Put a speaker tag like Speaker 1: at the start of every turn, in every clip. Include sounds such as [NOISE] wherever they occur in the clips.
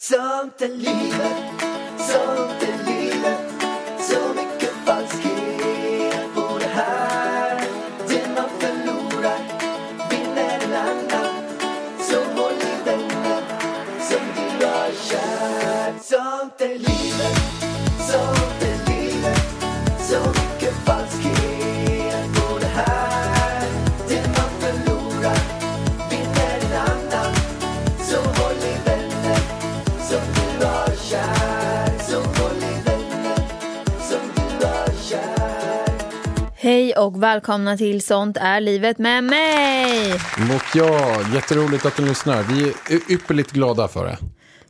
Speaker 1: Sånt är livet, sånt är livet Så mycket falskhet på det här Det man förlorar vinner en annan Så håll i vännen som du har kär Sånt är livet, sånt är livet Så mycket falskhet på det här Det man förlorar vinner en annan Så håll i vännen som du har kär Så håll i vännen som du har kär
Speaker 2: Hej och välkomna till Sånt är livet med mig!
Speaker 3: Och ja, jätteroligt att du lyssnar. Vi är y- ypperligt glada för det.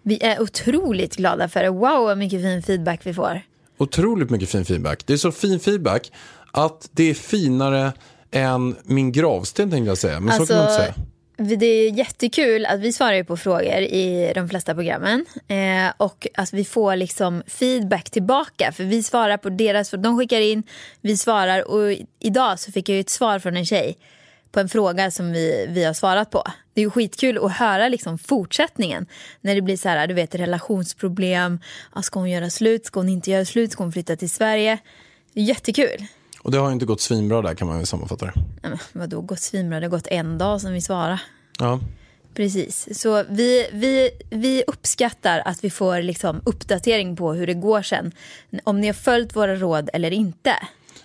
Speaker 2: Vi är otroligt glada för det. Wow, vad mycket fin feedback vi får.
Speaker 3: Otroligt mycket fin feedback. Det är så fin feedback att det är finare än min gravsten tänkte jag säga. Men så kan man inte säga.
Speaker 2: Alltså, vi- det är jättekul att vi svarar ju på frågor i de flesta programmen. Eh, och att vi får liksom feedback tillbaka. För vi svarar på deras frågor. De skickar in, vi svarar. Och i- idag så fick jag ju ett svar från en tjej på en fråga som vi, vi har svarat på. Det är ju skitkul att höra liksom fortsättningen. När det blir så här, du vet relationsproblem. Ja, Ska hon göra slut? Ska hon inte göra slut? Ska hon flytta till Sverige? Jättekul.
Speaker 3: Och det har ju inte gått svinbra där kan man väl sammanfatta det.
Speaker 2: Nej, men vadå, gått svinbra? Det har gått en dag sedan vi svarade.
Speaker 3: Ja.
Speaker 2: Precis, så vi, vi, vi uppskattar att vi får liksom uppdatering på hur det går sen. Om ni har följt våra råd eller inte.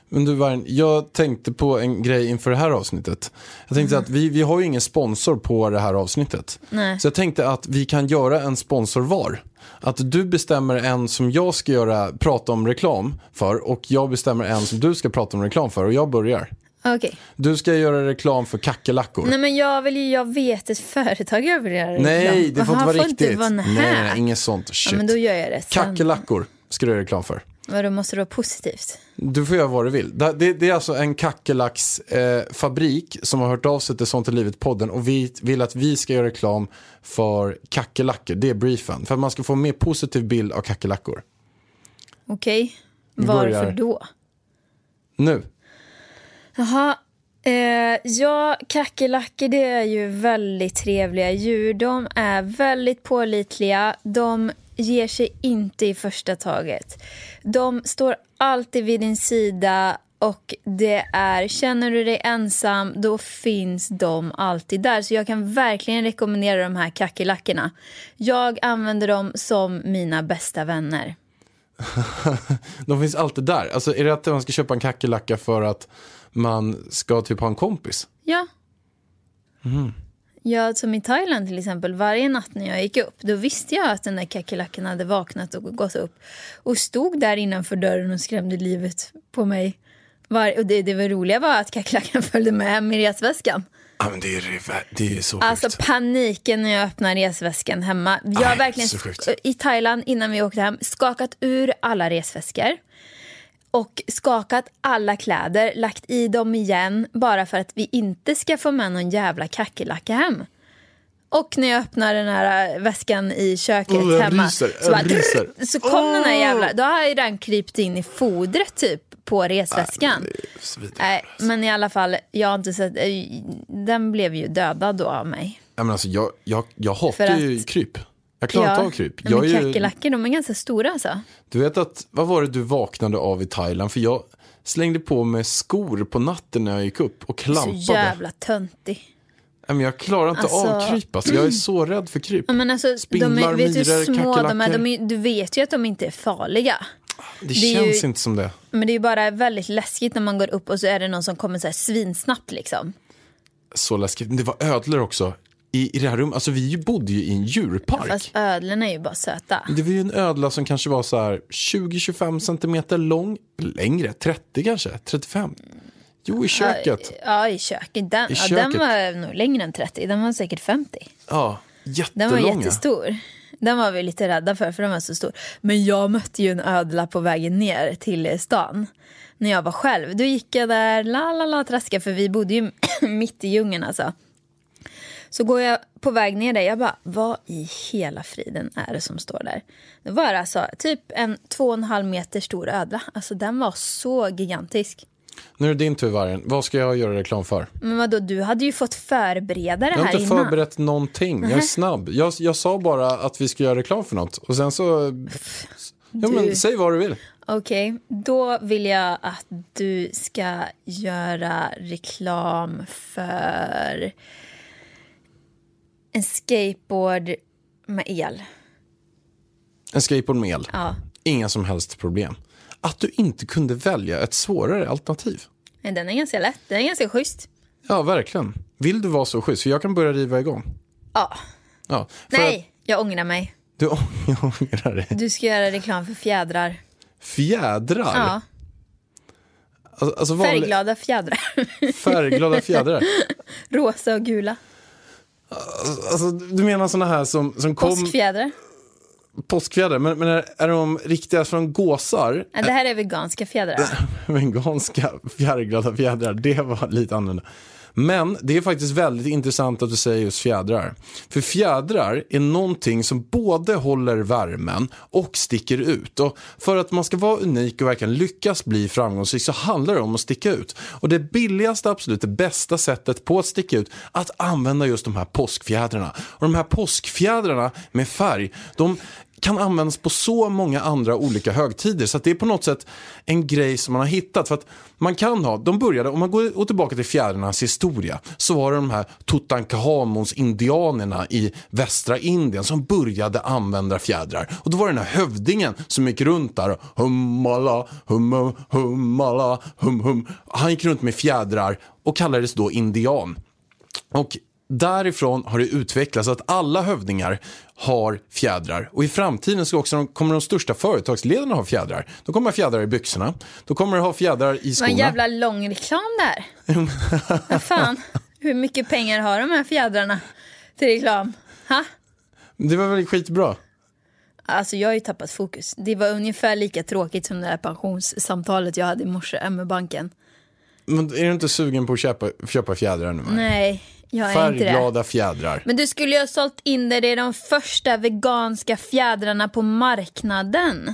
Speaker 3: Men du Varn, jag tänkte på en grej inför det här avsnittet. Jag tänkte att vi, vi har ju ingen sponsor på det här avsnittet.
Speaker 2: Mhm. Nej.
Speaker 3: Så jag tänkte att vi kan göra en sponsor var. Att du bestämmer en som jag ska göra, prata om reklam för och jag bestämmer en som du ska prata om reklam för och jag börjar.
Speaker 2: Okej.
Speaker 3: Du ska göra reklam för kackerlackor.
Speaker 2: Nej men jag vill ju, jag vet ett företag jag vill göra
Speaker 3: Nej, det får inte vara riktigt.
Speaker 2: Inte vara
Speaker 3: nej, nej, nej, inget sånt
Speaker 2: ja,
Speaker 3: shit.
Speaker 2: men då gör jag det sen.
Speaker 3: Kackerlackor ska du göra reklam för.
Speaker 2: Vadå, måste det vara positivt?
Speaker 3: Du får göra vad du vill. Det, det, det är alltså en kackerlacksfabrik eh, fabrik som har hört av sig till Sånt är livet-podden och vi vill att vi ska göra reklam för kackerlackor. Det är briefen. För att man ska få en mer positiv bild av kackerlackor.
Speaker 2: Okej,
Speaker 3: börjar.
Speaker 2: varför då?
Speaker 3: Nu.
Speaker 2: Jaha. Eh, ja, kackerlackor det är ju väldigt trevliga djur. De är väldigt pålitliga. De ger sig inte i första taget. De står alltid vid din sida och det är, känner du dig ensam, då finns de alltid där. Så jag kan verkligen rekommendera de här kackerlackorna. Jag använder dem som mina bästa vänner.
Speaker 3: De finns alltid där. Alltså är det att man ska köpa en kackerlacka för att man ska typ ha en kompis?
Speaker 2: Ja. Ja, som i Thailand till exempel. Varje natt när jag gick upp, då visste jag att den där kackerlackan hade vaknat och gått upp. Och stod där innanför dörren och skrämde livet på mig. Var, och det, det var roliga var att kackerlackan [LAUGHS] följde med hem i resväskan.
Speaker 3: Ja men det är, det är så
Speaker 2: Alltså paniken när jag öppnar resväskan hemma. Jag har
Speaker 3: Nej,
Speaker 2: verkligen
Speaker 3: så sjukt.
Speaker 2: i Thailand innan vi åkte hem skakat ur alla resväskor. Och skakat alla kläder, lagt i dem igen bara för att vi inte ska få med någon jävla kackerlacka hem. Och när jag öppnar den här äh, väskan i köket
Speaker 3: Åh, jag
Speaker 2: hemma
Speaker 3: ryser,
Speaker 2: så,
Speaker 3: jag ryser.
Speaker 2: så kom den här jävla, då har jag ju den krypt in i fodret typ på
Speaker 3: Äh,
Speaker 2: resväskan. Nej, men i alla fall, jag har inte sett, eh, den blev ju dödad då av mig.
Speaker 3: Ja, men alltså, jag, jag, jag hatar
Speaker 2: För att-
Speaker 3: ju kryp. Jag klarar inte av kryp.
Speaker 2: Nej,
Speaker 3: Jag
Speaker 2: men
Speaker 3: är ju,
Speaker 2: kackerlackor, de är ganska stora alltså.
Speaker 3: du vet att, vad var det du vaknade av i Thailand? För jag slängde på mig skor på natten när jag gick upp och
Speaker 2: Så
Speaker 3: klampade.
Speaker 2: jävla töntig.
Speaker 3: Nej, men jag klarar inte av
Speaker 2: Alltså-
Speaker 3: kryp. Alltså, jag är så rädd för kryp.
Speaker 2: Ja, Men alltså, de
Speaker 3: Spindlar,
Speaker 2: är, vet du hur
Speaker 3: myror,
Speaker 2: små de är?
Speaker 3: kackerlackor.
Speaker 2: De är? Du vet ju att de inte är farliga. är
Speaker 3: det,
Speaker 2: ju-
Speaker 3: känns inte som det.
Speaker 2: Men det är ju bara väldigt läskigt när man går upp och så är det någon som kommer så här svinsnabbt liksom.
Speaker 3: Så läskigt. Men det var ödlor också i, i det här rummet. Alltså, vi bodde ju i en djurpark.
Speaker 2: Fast ödlorna är ju bara söta.
Speaker 3: Det var ju en ödla som kanske var så här 20-25 centimeter lång. Längre, 30 kanske, 35. Jo, i köket.
Speaker 2: Ja, i köket. Den,
Speaker 3: I
Speaker 2: Ja, den
Speaker 3: köket.
Speaker 2: var nog längre än 30, den var säkert 50.
Speaker 3: Ja,
Speaker 2: Den
Speaker 3: jättelånga.
Speaker 2: var jättestor. Den var vi lite rädda för, för den var så stor. Men jag mötte ju en ödla på vägen ner till eh, stan. När jag var själv. Då gick jag där, la la la, traska, för vi bodde ju [CLEARS THROAT] mitt i djungeln alltså. Så går jag på väg ner där, jag bara, vad i hela friden är det som står där? Det var alltså typ en två och en halv meter stor ödla. Alltså den var så gigantisk.
Speaker 3: Nu är det din tur vargen. Vad ska jag göra reklam för?
Speaker 2: Men vadå, du hade ju fått förbereda det
Speaker 3: Jag har
Speaker 2: här
Speaker 3: inte
Speaker 2: innan.
Speaker 3: förberett någonting. Jag är snabb. Jag, jag sa bara att vi ska göra reklam för något. Och sen så... Ja, men,
Speaker 2: Du.
Speaker 3: säg vad du vill.
Speaker 2: Okej, då vill jag att du ska göra reklam för en skateboard med el.
Speaker 3: En skateboard med el.
Speaker 2: Ja,
Speaker 3: Inga som helst problem. Att du inte kunde välja ett svårare alternativ.
Speaker 2: men den är ganska lätt. Den är ganska schysst.
Speaker 3: Ja, verkligen. Vill du vara så schysst? För jag kan börja riva igång.
Speaker 2: Ja.
Speaker 3: Ja, för Att
Speaker 2: Nej, jag ångrar mig.
Speaker 3: du [LAUGHS] jag ångrar dig.
Speaker 2: Du ska göra reklam för fjädrar.
Speaker 3: Fjädrar.
Speaker 2: Ja,
Speaker 3: Alltså, alltså vanlig-
Speaker 2: färgglada fjädrar. [LAUGHS]
Speaker 3: färgglada fjädrar.
Speaker 2: Rosa och gula.
Speaker 3: Alltså, du menar såna här som, som kom...
Speaker 2: Påskfjädrar.
Speaker 3: Påskfjädrar. Men, men är, är de riktiga från gåsar?
Speaker 2: Ja, det här är veganska fjädrar.
Speaker 3: Veganska fjärrglada fjädrar, det var lite annorlunda. Men det är faktiskt väldigt intressant att du säger just fjädrar. För fjädrar är någonting som både håller värmen och sticker ut. Och för att man ska vara unik och verkligen lyckas bli framgångsrik så handlar det om att sticka ut. Och det billigaste, absolut det bästa sättet på att sticka ut, att använda just de här påskfjädrarna. Och de här påskfjädrarna med färg, de kan användas på så många andra olika högtider. Så att det är på något sätt en grej som man har hittat. För att man kan ha, de började, om man går tillbaka till fjärilarnas historia, så var det de här Tutankhamons indianerna i västra Indien som började använda fjädrar. Och då var det den här hövdingen som gick runt där och hummala, hum, hum, hummala, hum, hum. Han gick runt med fjädrar och kallades då indian. Och därifrån har det utvecklats att alla hövdingar har fjädrar. Och i framtiden ska också de, kommer de största företagsledarna ha fjädrar. Då kommer fjädrar i byxorna. Då kommer de ha fjädrar i
Speaker 2: Det var en
Speaker 3: skorna.
Speaker 2: jävla lång reklam
Speaker 3: [LAUGHS]
Speaker 2: där. Vad fan, hur mycket pengar har de här fjädrarna till reklam? Ha?
Speaker 3: Det var väl skitbra?
Speaker 2: Alltså jag har ju tappat fokus. Det var ungefär lika tråkigt som det här pensionssamtalet jag hade i morse eh, med banken.
Speaker 3: Men är du inte sugen på att köpa, köpa fjädrar nu? Maja?
Speaker 2: Nej, jag är inte det.
Speaker 3: Färgglada fjädrar.
Speaker 2: Men du skulle ju ha sålt in dig i de första veganska fjädrarna på marknaden.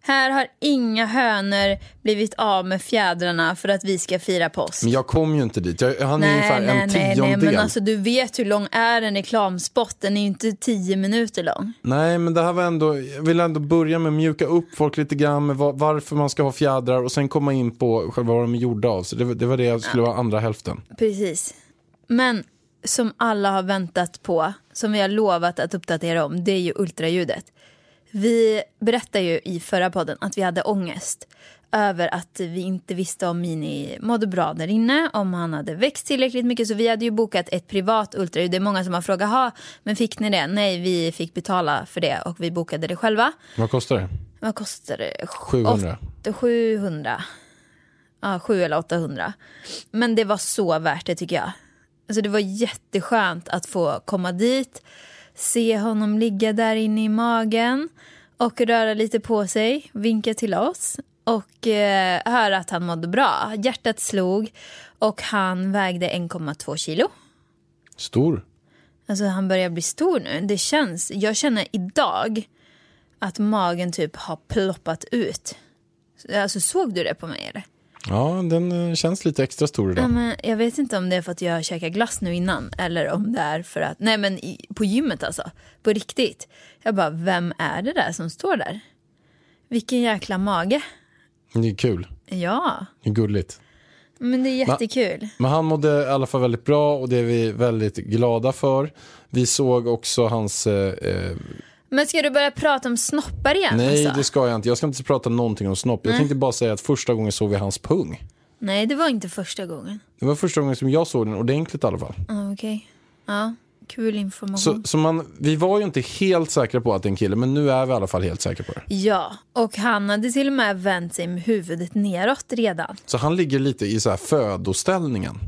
Speaker 2: Här har inga hönor blivit av med fjädrarna för att vi ska fira påsk.
Speaker 3: Men jag kom ju inte dit. Jag, han är ungefär en tiondel.
Speaker 2: nej, men alltså du vet hur lång är en reklamspot? Den är ju inte tio minuter lång.
Speaker 3: Nej, men det här var ändå, jag vill ändå börja med att mjuka upp folk lite grann med va- varför man ska ha fjädrar och sen komma in på själva vad de är gjorda av. Så det, var- det var det jag skulle vara andra hälften.
Speaker 2: Precis. Men som alla har väntat på, som vi har lovat att uppdatera om, det är ju ultraljudet. Vi berättade ju i förra podden att vi hade ångest över att vi inte visste om Mini mådde bra där inne, om han hade växt tillräckligt mycket. Så vi hade ju bokat ett privat ultraljud. Det är många som har frågat, ha, men fick ni det? Nej, vi fick betala för det och vi bokade det själva.
Speaker 3: Vad kostar det?
Speaker 2: Vad kostar det?
Speaker 3: 700.
Speaker 2: Åt- 700. Ja, 7 eller 800. Men det var så värt det tycker jag. Alltså det var jätteskönt att få komma dit, se honom ligga där inne i magen och röra lite på sig, vinka till oss och eh, höra att han mådde bra. Hjärtat slog och han vägde 1,2 kilo.
Speaker 3: Stor.
Speaker 2: Alltså han börjar bli stor nu. Det känns, jag känner idag att magen typ har ploppat ut. Alltså såg du det på mig eller?
Speaker 3: Ja, den eh, känns lite extra stor idag.
Speaker 2: Ja, men jag vet inte om det är för att jag käkar glass nu innan eller om det är för att, nej men i, på gymmet alltså, på riktigt. Jag bara, vem är det där som står där? Vilken jäkla mage.
Speaker 3: Det är kul.
Speaker 2: Ja,
Speaker 3: Det är gulligt.
Speaker 2: men det är jättekul.
Speaker 3: Men han mådde i alla fall väldigt bra och det är vi väldigt glada för. Vi såg också hans... Eh, eh,
Speaker 2: Men ska du börja prata om snoppar igen?
Speaker 3: nej,
Speaker 2: alltså?
Speaker 3: det ska jag inte. Jag ska inte prata någonting om snopp. Jag tänkte bara säga att första gången såg vi hans pung.
Speaker 2: nej, det var inte första gången.
Speaker 3: Det var första gången som jag såg den ordentligt i alla fall.
Speaker 2: Ah, Okej. Ja, kul information.
Speaker 3: Så, så man, vi var ju inte helt säkra på att det är en kille, men nu är vi i alla fall helt säkra på det.
Speaker 2: Ja, och han hade till och med vänt sig med huvudet neråt redan.
Speaker 3: Så han ligger lite i så här födoställningen.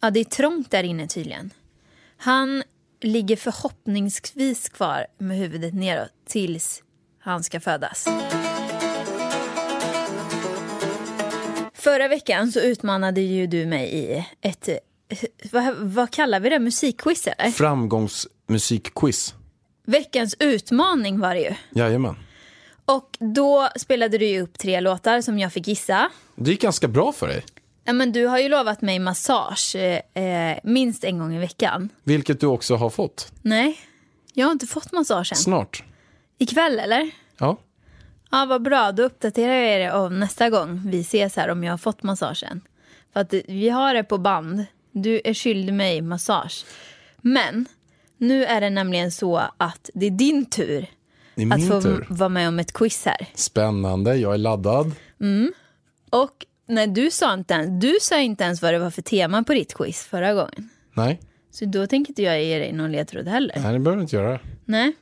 Speaker 2: Ja, det är trångt där inne tydligen. Han ligger förhoppningsvis kvar med huvudet neråt tills han ska födas. Förra veckan så utmanade ju du mig i ett, vad, vad kallar vi det, musikquiz eller?
Speaker 3: Framgångsmusikquiz.
Speaker 2: Veckans utmaning var det ju.
Speaker 3: Jajamän.
Speaker 2: Och då spelade du ju upp tre låtar som jag fick gissa.
Speaker 3: Det gick ganska bra för dig.
Speaker 2: Ja, men du har ju lovat mig massage eh, minst en gång i veckan.
Speaker 3: Vilket du också har fått
Speaker 2: Nej, jag har inte fått massage än.
Speaker 3: snart.
Speaker 2: Ikväll eller?
Speaker 3: Ja.
Speaker 2: Ja, vad bra. Då uppdaterar jag er om nästa gång vi ses här om jag har fått massagen. För att vi har det på band. Du är skyldig mig massage. Men nu är det nämligen så att det är din tur
Speaker 3: Det är
Speaker 2: att
Speaker 3: min
Speaker 2: få
Speaker 3: tur.
Speaker 2: vara med om ett quiz här.
Speaker 3: Spännande, jag är laddad.
Speaker 2: Och när du sa inte ens, du sa inte ens vad det var för tema på ditt quiz förra gången.
Speaker 3: Nej,
Speaker 2: Så då tänker inte jag ge dig någon ledtråd heller.
Speaker 3: nej det behöver du inte göra.
Speaker 2: Nej.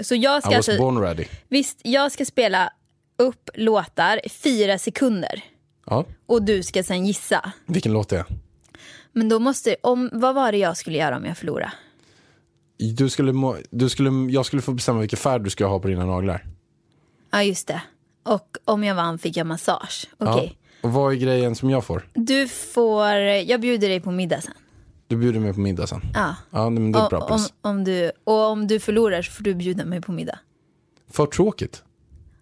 Speaker 2: Så jag
Speaker 3: I
Speaker 2: ska
Speaker 3: was
Speaker 2: alltså,
Speaker 3: born ready.
Speaker 2: visst, jag ska spela upp låtar i fyra sekunder.
Speaker 3: Ja.
Speaker 2: Och du ska sen gissa.
Speaker 3: Vilken låt det är?
Speaker 2: Men då måste, om, vad var det jag skulle göra om jag förlorade?
Speaker 3: Du skulle, må- du skulle, jag skulle få bestämma vilken färg du skulle ha på dina naglar.
Speaker 2: Ja, just det. Och om jag vann fick jag massage. Okej.
Speaker 3: Ja. Och vad är grejen som jag får?
Speaker 2: Du får, jag bjuder dig på middag sen.
Speaker 3: Du bjuder mig på middag sen.
Speaker 2: Ja.
Speaker 3: Ja, men det är ett bra
Speaker 2: Och- om,
Speaker 3: pris.
Speaker 2: om du, och om du förlorar så får du bjuda mig på middag.
Speaker 3: För tråkigt.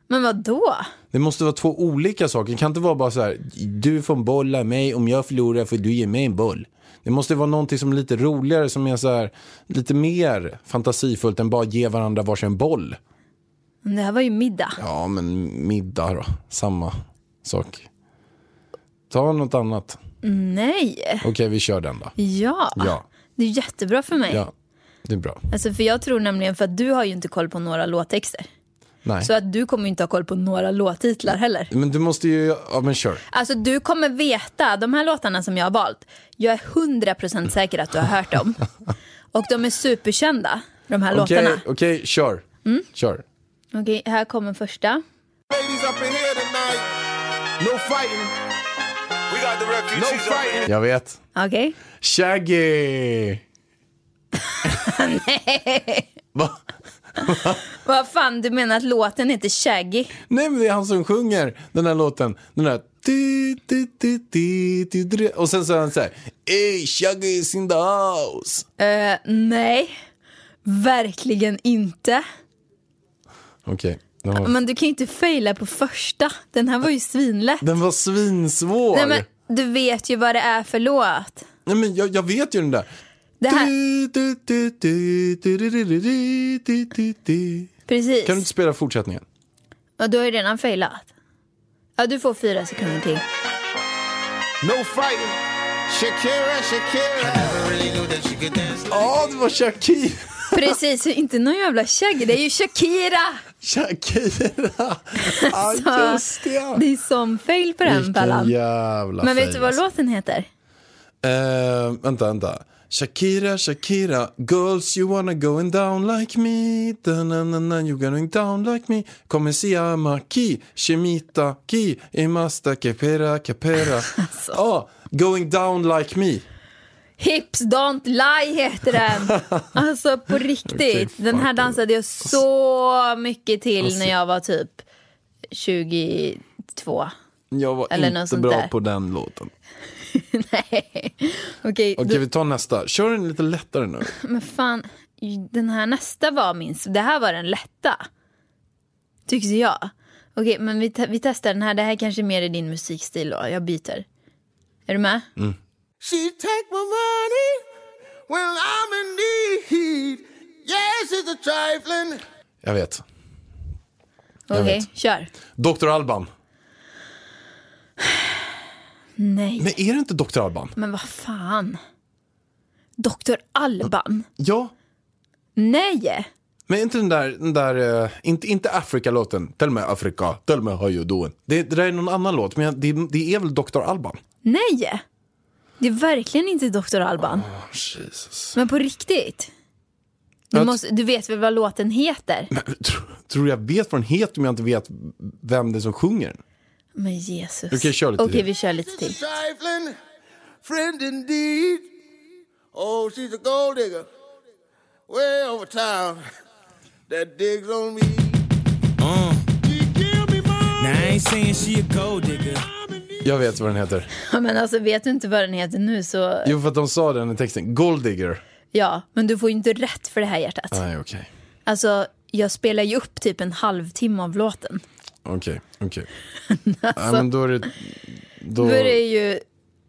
Speaker 2: Men vad då?
Speaker 3: Det måste vara två olika saker. Det kan inte vara bara så här, du får en boll av mig, om jag förlorar får du ge mig en boll. Det måste vara någonting som är lite roligare, som är så här, lite mer fantasifullt än bara ge varandra varsin boll.
Speaker 2: Men Det här var ju middag.
Speaker 3: Ja, men middag då, samma sak. Ta något annat.
Speaker 2: Nej.
Speaker 3: Okej, vi kör den då.
Speaker 2: Ja.
Speaker 3: Ja.
Speaker 2: Det är jättebra för mig.
Speaker 3: Ja, det är bra.
Speaker 2: Alltså för jag tror nämligen för att du har ju inte koll på några låttexter.
Speaker 3: Nej.
Speaker 2: Så att du kommer ju inte ha koll på några låttitlar heller.
Speaker 3: Men du måste ju, ja men kör.
Speaker 2: Alltså du kommer veta, de här låtarna som jag har valt, jag är 100% säker att du har hört dem. Och de är superkända, de här
Speaker 3: Okej,
Speaker 2: låtarna. Mm.
Speaker 3: okej, kör. Kör.
Speaker 2: Okej, här kommer första.
Speaker 4: Ladies up in here tonight.
Speaker 3: No fighting,
Speaker 4: We got the
Speaker 3: no
Speaker 4: refugees up in
Speaker 3: fighting. Jag vet.
Speaker 2: Okej. [LAUGHS]
Speaker 3: Shaggy! Va?
Speaker 2: Vad fan, du menar att låten heter Shaggy?
Speaker 3: Nej men det är han som sjunger den här låten. Den där... Ti, ti, ti, ti, ti, ti. Och sen så är han så här... Ey, Shaggy's in the house!
Speaker 2: Eh, nej, verkligen inte.
Speaker 3: Okej, den, var,
Speaker 2: Men du kan ju inte faila på första. Den här var ju svinlätt.
Speaker 3: den var svinsvår.
Speaker 2: Nej, men du vet ju vad det är för låt.
Speaker 3: jag, jag vet ju den där.
Speaker 2: Det här,
Speaker 3: Ti, ti, ti, ti, ti, ti, ti, ti, ti, ti, ti.
Speaker 2: precis.
Speaker 3: Kan du inte spela fortsättningen?
Speaker 2: Ja, du har ju redan failat. Ja, du får fyra sekunder till.
Speaker 3: No fighting!
Speaker 4: Shakira, Shakira.
Speaker 3: Ja, det var Shakira!
Speaker 2: Precis, inte någon jävla Shaggy. Det är ju Shakira! [LAUGHS]
Speaker 3: Shakira! Ja,
Speaker 2: Så
Speaker 3: just det.
Speaker 2: Det är som fail på den
Speaker 3: Vilken
Speaker 2: Pallan.
Speaker 3: jävla
Speaker 2: Men vet
Speaker 3: fail,
Speaker 2: du vad
Speaker 3: alltså.
Speaker 2: låten heter?
Speaker 3: Eh, vänta, vänta. Shakira, Shakira, girls you wanna going down like me da, na, na, na, You going down like me Come siama ki, shemita ki Imasta kepera,
Speaker 2: [LAUGHS]
Speaker 3: kepera
Speaker 2: Alltså.
Speaker 3: Ja, Going down like me
Speaker 2: Hips Don't Lie heter
Speaker 3: [LAUGHS]
Speaker 2: den. Alltså på riktigt.
Speaker 3: Okej,
Speaker 2: den här
Speaker 3: fuck.
Speaker 2: dansade jag så mycket till när jag var typ 22.
Speaker 3: Jag var
Speaker 2: Eller något
Speaker 3: inte
Speaker 2: sånt
Speaker 3: bra
Speaker 2: där.
Speaker 3: på den låten
Speaker 2: Nej. Okej,
Speaker 3: Okej,
Speaker 2: då-
Speaker 3: vi tar nästa. Kör den lite lättare nu.
Speaker 2: men fan. Den här nästa var min. Det här var den lätta. Tyckte jag. Okej, men vi, te- vi testar den här. Det här kanske är mer i din musikstil då. Jag byter. Är du med?
Speaker 3: Mm,
Speaker 4: She take my money when I'm in need. Yes, it's a trifling.
Speaker 3: Jag vet.
Speaker 2: Okej,
Speaker 3: vet.
Speaker 2: kör.
Speaker 3: Dr. Alban.
Speaker 2: Nej,
Speaker 3: Men är det inte Dr. Alban?
Speaker 2: men vad fan. Dr. Alban?
Speaker 3: Ja.
Speaker 2: Nej!
Speaker 3: Men är inte den där, den där eh, inte, inte Afrika-låten. Tell me Africa, tell me how you doing. Det, det där är någon annan låt, men jag- det, det är väl Dr. Alban?
Speaker 2: Nej! Det är verkligen inte Dr. Alban.
Speaker 3: Jesus.
Speaker 2: Men på riktigt. Du,
Speaker 3: Jag-
Speaker 2: måste, du vet väl vad låten heter?
Speaker 3: Men, tro, tror du jag vet vad den heter om jag inte vet vem det är som sjunger den?
Speaker 2: Men Jesus.
Speaker 3: Okej, kör lite
Speaker 2: Okej,
Speaker 3: till.
Speaker 2: vi kör lite till.
Speaker 4: It's a trifling friend indeed. Oh, she's a gold digger. Way over town that digs on me.
Speaker 5: Uh,
Speaker 4: She give me money.
Speaker 5: now I ain't saying she a gold digger.
Speaker 3: Jag vet vad den heter.
Speaker 2: Ja, men alltså vet du inte vad den heter nu så
Speaker 3: Jo, för att de sa den i texten. Golddigger.
Speaker 2: ja. Men du får ju inte rätt för det här hjärtat.
Speaker 3: Nej, okej.
Speaker 2: Alltså, jag spelar ju upp typ en halvtimme av låten.
Speaker 3: Okej, okej. Nej, men då är det... Då...
Speaker 2: Då är det ju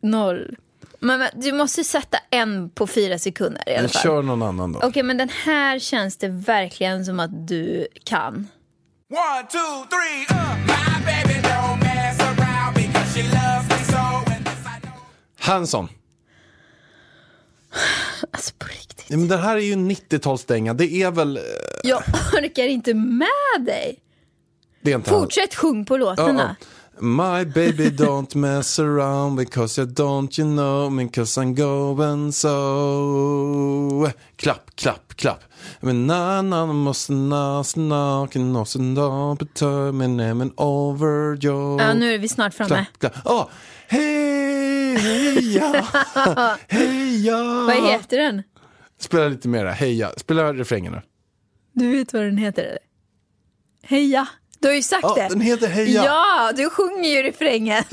Speaker 2: Noll. Men, men du måste sätta en på fyra sekunder i alla
Speaker 3: Men
Speaker 2: fall.
Speaker 3: kör någon annan då.
Speaker 2: Okej, men den här känns det verkligen som att du kan.
Speaker 6: One, two, three, uh. My baby don't mess around because she loves me so. And this I know.
Speaker 3: Hanson.
Speaker 2: Alltså på riktigt.
Speaker 3: Ja, men den här är ju 90-talsdänga. Det är väl... eh,
Speaker 2: Jag [LAUGHS] orkar inte med dig.
Speaker 3: Det är inte han.
Speaker 2: Fortsätt sjung på låtarna.
Speaker 3: My baby don't mess around because I don't you know me because I'm going so Klapp, klapp, klapp Men na na na, måste na snack and also da betör men nämen over yo
Speaker 2: Ja, nu är vi snart framme.
Speaker 3: Klapp, klapp, åh! hej,
Speaker 2: [LAUGHS]
Speaker 3: heja, heja
Speaker 2: Vad heter den?
Speaker 3: Spela lite mera, heja, spela refrängerna
Speaker 2: Du vet vad den heter eller? Heja. Du har ju sagt
Speaker 3: Ja,
Speaker 2: det.
Speaker 3: den heter Heja.
Speaker 2: Ja, du sjunger ju refrängen.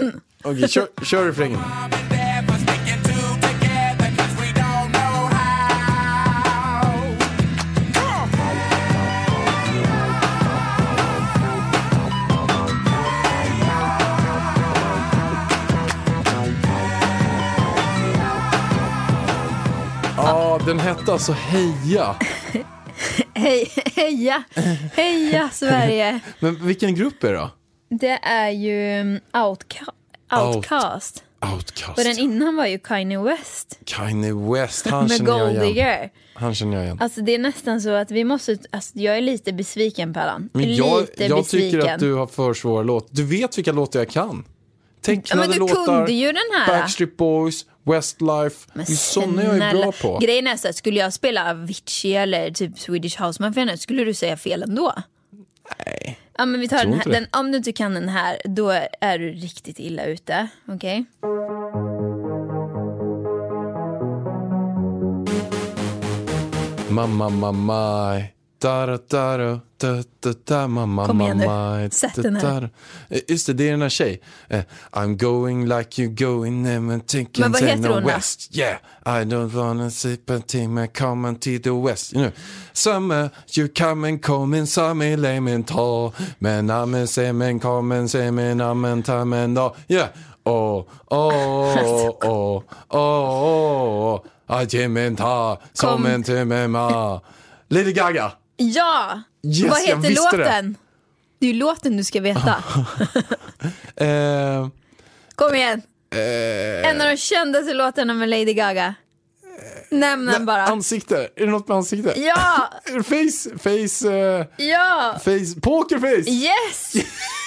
Speaker 3: Okej, kör, kör refrängen
Speaker 6: Mom and dad for sticking two together 'cause we don't know how.
Speaker 3: Ja, den hette alltså Heja
Speaker 2: Hej, heja.
Speaker 3: [LAUGHS]
Speaker 2: Heja Sverige.
Speaker 3: Men vilken grupp är det då?
Speaker 2: Det är ju um, outca- Outcast.
Speaker 3: Outcast
Speaker 2: Och den innan var ju Kanye West
Speaker 3: Kanye West, han
Speaker 2: med
Speaker 3: känner
Speaker 2: Gold
Speaker 3: jag igen.
Speaker 2: Digger.
Speaker 3: Han känner jag igen.
Speaker 2: Alltså det är nästan så att vi måste, alltså jag är lite besviken Pallan.
Speaker 3: Men jag
Speaker 2: lite
Speaker 3: jag
Speaker 2: besviken.
Speaker 3: tycker att du har för svåra låtar. Du vet vilka låtar jag kan.
Speaker 2: ja,
Speaker 3: Tecknade
Speaker 2: men du
Speaker 3: låtar,
Speaker 2: kunde ju den här.
Speaker 3: Backstreet Boys, Westlife. Det är sådana jag är bra på.
Speaker 2: Grejen är så att skulle jag spela Avicii eller typ Swedish House Mafia nu, skulle du säga fel ändå? Nej. Ja, men vi tar den
Speaker 3: tror
Speaker 2: här.
Speaker 3: inte det.
Speaker 2: Den, om du inte kan den här, då är du riktigt illa ute. Okej?
Speaker 3: Mamma, mamma, maj. Dara, dara, da, da, da, mamma,
Speaker 2: Kom igen nu.
Speaker 3: mamma, maj.
Speaker 2: Sätt den här.
Speaker 3: dara. Eh, Just det, det är den här tjej. Eh, I'm going like you going, never thinking
Speaker 2: Men vad
Speaker 3: to
Speaker 2: heter
Speaker 3: the
Speaker 2: hon då?
Speaker 3: west. Yeah, I don't wanna sleep until my coming to the west. You know. Summer, you come and come in summer, lame and tall. Men amen, semen, come semen, amen, tamen, da. Yeah. Oh, oh, oh, oh, oh, oh. Ajimenta,
Speaker 2: Kom.
Speaker 3: som en timme ma. Lady Gaga.
Speaker 2: Ja!
Speaker 3: Yes,
Speaker 2: Vad
Speaker 3: jag
Speaker 2: heter
Speaker 3: visste det.
Speaker 2: låten? Det. är ju låten du ska
Speaker 3: [LAUGHS]
Speaker 2: veta.
Speaker 3: Eh,
Speaker 2: Kom igen! en av de kändaste låtarna med Lady Gaga. Nämn den bara.
Speaker 3: ansikte. Är det något med ansikte?
Speaker 2: Ja!
Speaker 3: [LAUGHS] Face, face, eh,
Speaker 2: Ja!
Speaker 3: face, pokerface.
Speaker 2: Yes!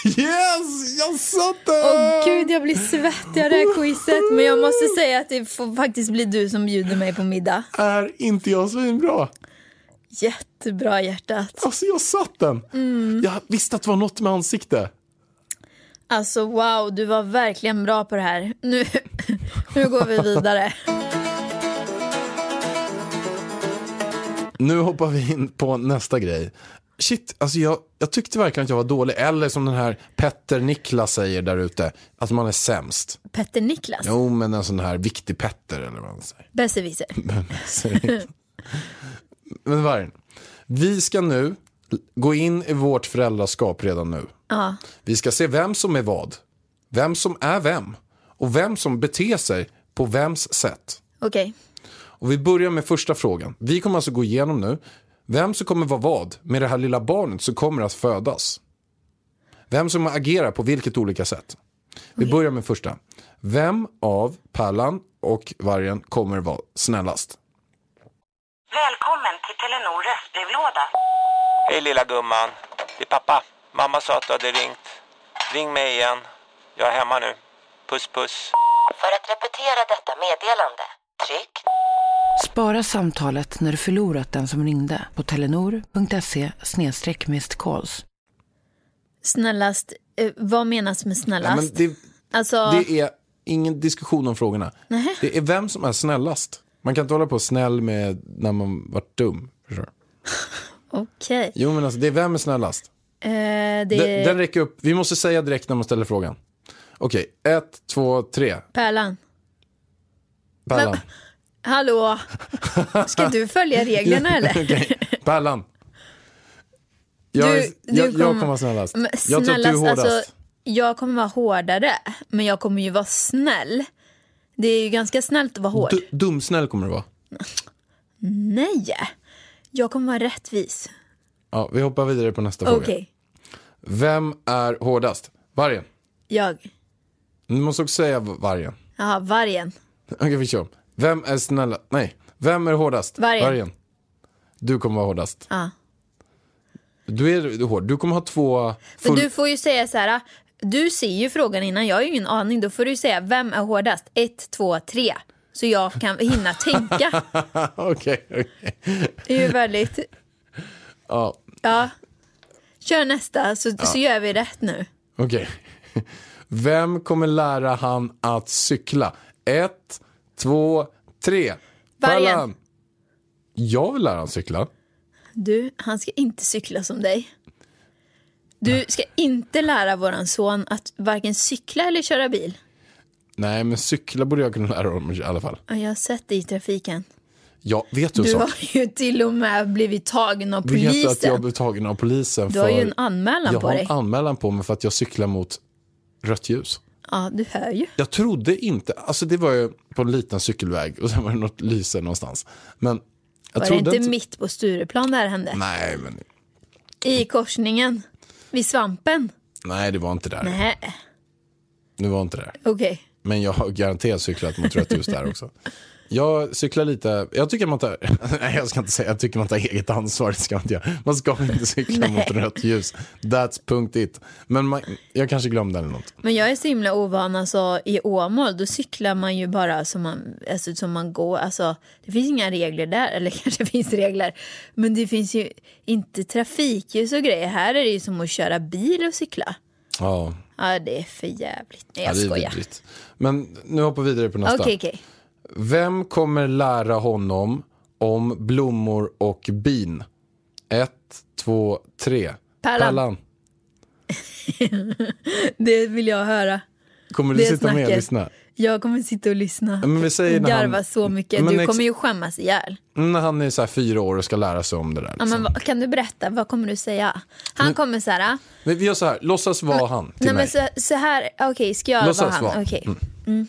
Speaker 3: Yes, jag satt den!
Speaker 2: Åh gud, jag blir svettig av det här quizet. Men jag måste säga att det får faktiskt bli du som bjuder mig på middag.
Speaker 3: Är inte jag svinbra?
Speaker 2: Jättebra hjärtat.
Speaker 3: Alltså jag satt den. Jag visste att det var något med ansikte.
Speaker 2: Alltså wow, du var verkligen bra på det här. Nu, [LAUGHS] nu går vi vidare.
Speaker 3: Nu hoppar vi in på nästa grej. Shit, alltså jag, jag tyckte verkligen att jag var dålig. Eller som den här Petter Niklas säger där ute, att man är sämst.
Speaker 2: Petter Niklas,
Speaker 3: Jo, men en sån här viktig Petter eller vad man säger.
Speaker 2: besserwisser.
Speaker 3: Säg. [LAUGHS] Men Vargen, vi ska nu gå in i vårt föräldraskap redan nu. Vi ska se vem som är vad, vem som är vem och vem som beter sig på vems sätt.
Speaker 2: Okej,
Speaker 3: Och vi börjar med första frågan. Vi kommer alltså gå igenom nu vem som kommer vara vad med det här lilla barnet som kommer att födas. Vem som agerar på vilket olika sätt. Vi börjar med första. Vem av Pärlan och Vargen kommer vara snällast?
Speaker 7: Välkommen till Telenor röstbrevlåda.
Speaker 8: Hej lilla gumman. Det är pappa. Mamma sa att du hade ringt. Ring mig igen. Jag är hemma nu. Puss puss.
Speaker 7: För att repetera detta meddelande, tryck
Speaker 9: Spara samtalet när du förlorat den som ringde på telenor.se calls.
Speaker 2: snällast. Eh, vad menas med
Speaker 3: Nej, men
Speaker 2: snällast?
Speaker 3: det,
Speaker 2: Alltså,
Speaker 3: det är ingen diskussion om frågorna. Det är vem som är snällast. Man kan inte hålla på snäll med när man varit dum. förstår du?
Speaker 2: okej.
Speaker 3: Jo men alltså det är vem är snällast.
Speaker 2: Eh,
Speaker 3: Den,
Speaker 2: det
Speaker 3: den
Speaker 2: är
Speaker 3: räcker upp. Vi måste säga direkt när man ställer frågan. Okej, ett, två, tre.
Speaker 2: Pärlan.
Speaker 3: Pärlan.
Speaker 2: Hallå? Ska du följa
Speaker 3: [LAUGHS]
Speaker 2: reglerna eller?
Speaker 3: Okej, Pärlan. Jag, är-
Speaker 2: Du- du
Speaker 3: jag, jag
Speaker 2: kommer-
Speaker 3: kommer vara snällast.
Speaker 2: Men alltså,
Speaker 3: jag tror att du är
Speaker 2: snällast,
Speaker 3: hårdast.
Speaker 2: alltså, jag kommer vara hårdare, men jag kommer ju vara snäll. Det är ju ganska snällt att vara hård.
Speaker 3: Du, dumsnäll kommer du vara.
Speaker 2: Nej! Jag kommer vara rättvis.
Speaker 3: Ja, vi hoppar vidare på nästa
Speaker 2: Okej,
Speaker 3: fråga. Vem är hårdast? Vargen.
Speaker 2: jag.
Speaker 3: Du måste också säga v- vargen.
Speaker 2: Jaha, vargen.
Speaker 3: Okej, vi kör. Vem är snälla? Nej. Vem är hårdast?
Speaker 2: Vargen.
Speaker 3: Du kommer vara hårdast.
Speaker 2: Ja.
Speaker 3: Du är du är hård. Du kommer ha två...
Speaker 2: För
Speaker 3: full-
Speaker 2: du får ju säga så här, du ser ju frågan innan, jag har ju ingen aning. Då får du säga, vem är hårdast? Ett, två, tre. Så jag kan hinna
Speaker 3: [LAUGHS]
Speaker 2: tänka.
Speaker 3: [LAUGHS] Okej, okej.
Speaker 2: Det är ju väldigt...
Speaker 3: Ja,
Speaker 2: Ja. Kör nästa så, så gör vi rätt nu.
Speaker 3: okej. Vem kommer lära han att cykla? Ett, två, tre.
Speaker 2: Vargen.
Speaker 3: Pallan. Jag vill lära han cykla.
Speaker 2: Du, han ska inte cykla som dig. Du ska inte lära våran son att varken cykla eller köra bil.
Speaker 3: Nej, men cykla borde jag kunna lära honom i alla fall.
Speaker 2: Ja, Jag har sett dig i trafiken.
Speaker 3: Ja, vet du, en
Speaker 2: Du
Speaker 3: sak?
Speaker 2: har ju till och med blivit tagen av
Speaker 3: Vet du att jag
Speaker 2: polisen.
Speaker 3: blev tagen av polisen
Speaker 2: Du
Speaker 3: för...
Speaker 2: har ju en anmälan
Speaker 3: jag
Speaker 2: på
Speaker 3: har
Speaker 2: dig.
Speaker 3: en anmälan på mig för att jag cyklar mot rött ljus.
Speaker 2: Ja, du hör ju.
Speaker 3: Jag trodde inte, alltså det var ju på en liten cykelväg och sen var det något lyse någonstans. Men jag
Speaker 2: Var det
Speaker 3: trodde
Speaker 2: inte mitt på Stureplan det här hände?
Speaker 3: Nej, men
Speaker 2: I korsningen? Vid svampen?
Speaker 3: nej, det var inte där.
Speaker 2: Nej,
Speaker 3: Det var inte där.
Speaker 2: okej.
Speaker 3: Men jag har garanterat cyklat mot rött ljus där också. Jag cyklar lite, jag tycker man tar, [LAUGHS] nej jag ska inte säga, jag tycker man tar eget ansvar, det ska man inte göra. Man ska inte cykla mot rött ljus. That's punkt it. Men man, jag kanske glömde eller något.
Speaker 2: Men jag är så himla ovan. Alltså, I Åmål då cyklar man ju bara som man, alltså, som man går. Alltså, det finns inga regler där. Eller [LAUGHS] kanske finns regler. Men det finns ju inte trafikljus och grejer. Här är det ju som att köra bil och cykla.
Speaker 3: Ja,
Speaker 2: Ja, det är för jävligt. Nej,
Speaker 3: ja
Speaker 2: jag
Speaker 3: det är
Speaker 2: skojar.
Speaker 3: vidrigt. Men nu hoppar vi vidare på nästa.
Speaker 2: Okej, okej.
Speaker 3: Vem kommer lära honom om blommor och bin? Ett, två, tre.
Speaker 2: Pärlan. Det vill jag höra.
Speaker 3: Kommer du
Speaker 2: Det är
Speaker 3: sitta med och
Speaker 2: snacket.
Speaker 3: lyssna?
Speaker 2: Jag kommer sitta och lyssna.
Speaker 3: Men vi säger när han-
Speaker 2: Garva så mycket.
Speaker 3: Men
Speaker 2: Du
Speaker 3: ex-
Speaker 2: kommer ju skämmas ihjäl.
Speaker 3: Mm, När han är så här fyra år och ska lära sig om det där.
Speaker 2: Ja,
Speaker 3: liksom.
Speaker 2: men vad, kan du berätta, vad kommer du säga? Han kommer så här...
Speaker 3: Men vi gör så här, låtsas vara han till
Speaker 2: Nej, men
Speaker 3: mig.
Speaker 2: så, så här, okej, ska jag
Speaker 3: Låtsas
Speaker 2: vara han?
Speaker 3: vara.
Speaker 2: Okej. Mm.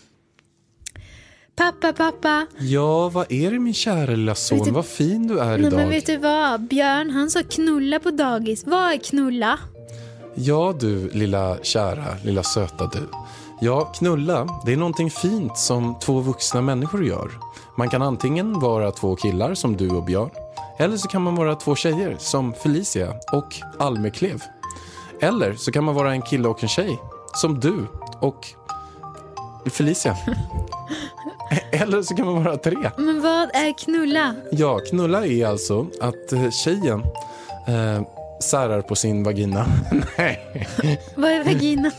Speaker 2: Pappa, pappa.
Speaker 3: Ja, vad är det min kära lilla son?
Speaker 2: Vet du-
Speaker 3: Vad fin du är
Speaker 2: Nej,
Speaker 3: idag.
Speaker 2: men vet du vad? Björn, han sa knulla på dagis. Vad är knulla?
Speaker 3: Ja, du lilla kära, lilla söta du. Ja, knulla, det är någonting fint som två vuxna människor gör. Man kan antingen vara två killar som du och Björn, eller så kan man vara två tjejer som Felicia och Almeklev. Eller så kan man vara en kille och en tjej som du och Felicia. [LAUGHS] Eller så kan man vara tre.
Speaker 2: Men vad är knulla?
Speaker 3: Ja, knulla är alltså att eh, tjejen eh, särar på sin vagina. Nej.
Speaker 2: Vad är
Speaker 3: [LAUGHS]
Speaker 2: vagina?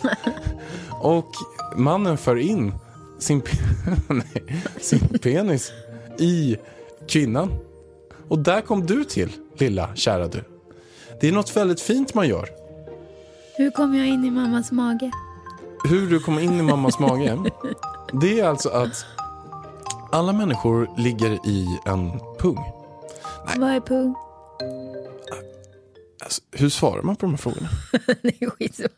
Speaker 3: Och mannen för in sin, pe- [LAUGHS] nej, sin penis i kvinnan. Och där kom du till, lilla kära du. Det är något väldigt fint man gör.
Speaker 2: Hur kom jag in i mammas mage?
Speaker 3: Hur du kom in i mammas mage, det är alltså att alla människor ligger i en pung.
Speaker 2: Vad är pung? [LAUGHS]
Speaker 3: Alltså, hur svarar man på de här frågorna?
Speaker 2: Det är skitsvårt.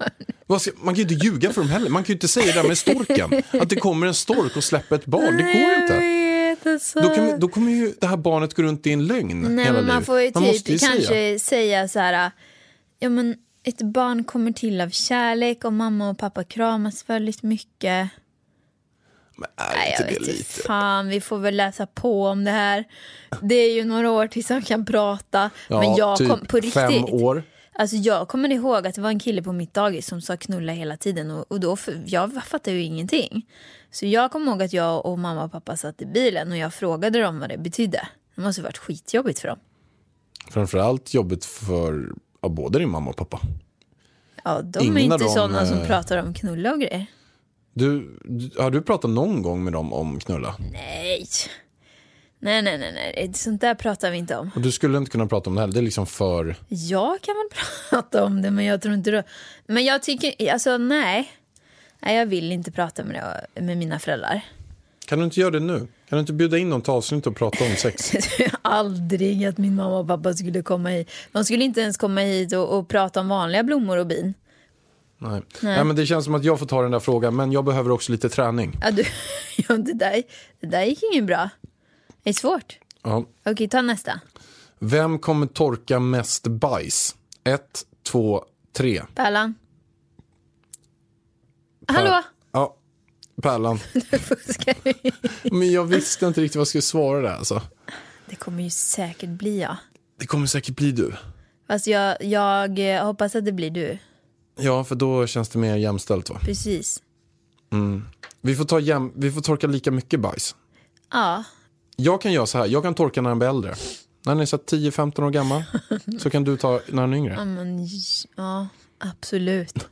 Speaker 3: Vad ska- Man kan ju inte ljuga för dem heller. Man kan ju inte säga det där med storken. Att det kommer en stork och släpper ett barn. Det går
Speaker 2: Jag
Speaker 3: inte.
Speaker 2: vet, alltså.
Speaker 3: Då, kan vi, då kommer ju det här barnet gå runt i en lögn
Speaker 2: Nej,
Speaker 3: hela
Speaker 2: men man
Speaker 3: livet.
Speaker 2: får ju typ
Speaker 3: måste ju
Speaker 2: kanske
Speaker 3: säga.
Speaker 2: säga. så här, ja men ett barn kommer till av kärlek och mamma och pappa kramas väldigt mycket.
Speaker 3: Men är
Speaker 2: Nej, jag
Speaker 3: inte
Speaker 2: vet
Speaker 3: det
Speaker 2: inte.
Speaker 3: lite?
Speaker 2: Fan, vi får väl läsa på om det här. Det är ju några år tills han kan prata. men jag
Speaker 3: typ
Speaker 2: kom på riktigt.
Speaker 3: fem år.
Speaker 2: Alltså jag kommer ihåg att det var en kille på mitt dagis som sa knulla hela tiden och, och då, för, jag fattade ju ingenting. Så jag kommer ihåg att jag och mamma och pappa satt i bilen och jag frågade dem vad det betydde. Det måste ha varit skitjobbigt för dem.
Speaker 3: Framförallt jobbigt för ja, både din mamma och pappa.
Speaker 2: Ja, de
Speaker 3: Ingen
Speaker 2: är
Speaker 3: av
Speaker 2: inte
Speaker 3: dem,
Speaker 2: sådana som
Speaker 3: eh,
Speaker 2: pratar om knulla och grejer.
Speaker 3: Du, du- har du pratat någon gång med dem om knulla?
Speaker 2: Nej. Nej, nej, nej, nej. Sånt där pratar vi inte om.
Speaker 3: Och du skulle inte kunna prata om det heller. Det är liksom för...
Speaker 2: Jag kan väl [LAUGHS] prata om det, men jag tror inte det. Men jag tycker, alltså nej. Nej, jag vill inte prata med, det, med mina föräldrar. [LAUGHS]
Speaker 3: Kan du inte göra det nu? Kan du inte bjuda in dem till avsnitt och prata om
Speaker 2: [LAUGHS]
Speaker 3: sex?
Speaker 2: Jag tror Aldrig att min mamma och pappa skulle komma hit. De skulle inte ens komma hit och, och prata om vanliga blommor och bin.
Speaker 3: Nej. Nej. men det känns som att jag får ta den där frågan, men jag behöver också lite träning.
Speaker 2: Ja, du, [LAUGHS] ja, det, där, det där gick inget bra. Det är svårt.
Speaker 3: Ja.
Speaker 2: Okej, ta nästa.
Speaker 3: Vem kommer torka mest bajs? Ett, två, tre.
Speaker 2: Pärlan. Hallå? [LAUGHS]
Speaker 3: Ja, Pärlan.
Speaker 2: Du fuskar ju.
Speaker 3: Men jag visste inte riktigt vad jag skulle svara där alltså.
Speaker 2: Det kommer ju säkert bli jag.
Speaker 3: Det kommer säkert bli du.
Speaker 2: Alltså jag, jag eh, hoppas att det blir du.
Speaker 3: Ja, för då känns det mer jämställt va?
Speaker 2: Precis.
Speaker 3: Vi får, ta jäm- vi får torka lika mycket bajs.
Speaker 2: Ja,
Speaker 3: Jag kan göra så här, jag kan torka när han blir äldre. När han är så här 10-15 år gammal så kan du ta när han är yngre.
Speaker 2: men j- ja, absolut.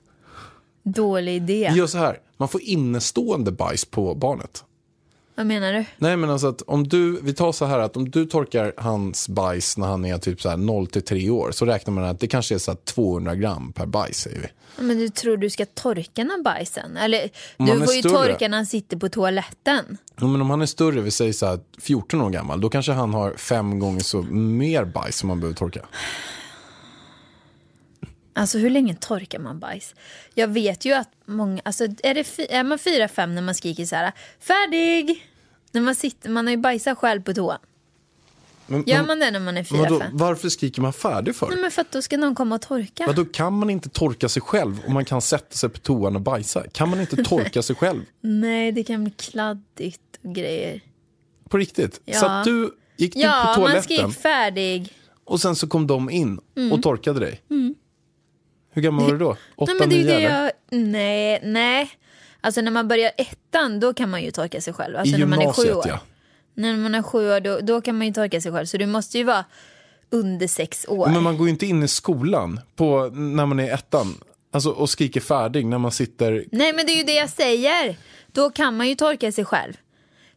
Speaker 2: Dålig idé.
Speaker 3: Vi gör så här, man får innestående bajs på barnet.
Speaker 2: Vad menar du?
Speaker 3: Nej men alltså att om du, vi tar så här att om du torkar hans bajs när han är typ så här 0 till 3 år så räknar man att det kanske är så här 200 gram per bajs säger vi.
Speaker 2: Ja, Men du tror du ska torka när bajsen? Eller
Speaker 3: Om han
Speaker 2: du
Speaker 3: är
Speaker 2: får ju
Speaker 3: större.
Speaker 2: torka när han sitter på toaletten.
Speaker 3: Ja, men om han är större, vi säger så här 14 år gammal, då kanske han har fem gånger så mer bajs som man behöver torka.
Speaker 2: Alltså hur länge torkar man bajs? Jag vet ju att många, alltså är, det fy, är man fyra, fem när man skriker så här färdig? När man sitter, man har ju bajsat själv på toan.
Speaker 3: Men,
Speaker 2: Gör
Speaker 3: men-
Speaker 2: man det när man är fyra,
Speaker 3: vadå,
Speaker 2: fem? Mm.
Speaker 3: varför skriker man färdig för?
Speaker 2: Nej men för att då ska någon komma och torka.
Speaker 3: Vadå, kan man inte torka sig själv om man kan sätta sig på toan och bajsa? Kan man inte torka sig själv?
Speaker 2: Nej det kan bli kladdigt och grejer.
Speaker 3: På riktigt?
Speaker 2: Ja.
Speaker 3: Så att du gick du
Speaker 2: Ja
Speaker 3: på
Speaker 2: man
Speaker 3: toaletten
Speaker 2: skrek färdig.
Speaker 3: och sen så kom de in och torkade dig? Hur gammal var du då? Åtta,
Speaker 2: Mm. Nej men det är ju
Speaker 3: nio
Speaker 2: det
Speaker 3: eller?
Speaker 2: jag, nej, nej. Alltså när man börjar ettan då kan man ju torka sig själv.
Speaker 3: I
Speaker 2: Alltså när man är sju
Speaker 3: gymnasiet
Speaker 2: år.
Speaker 3: ja.
Speaker 2: När man är sju år då, då kan man ju torka sig själv. Så du måste ju vara under sex år.
Speaker 3: Men man går ju inte in i skolan på, när man är ettan alltså, och skriker färdig när man sitter
Speaker 2: Nej men det är ju det jag säger. Då kan man ju torka sig själv.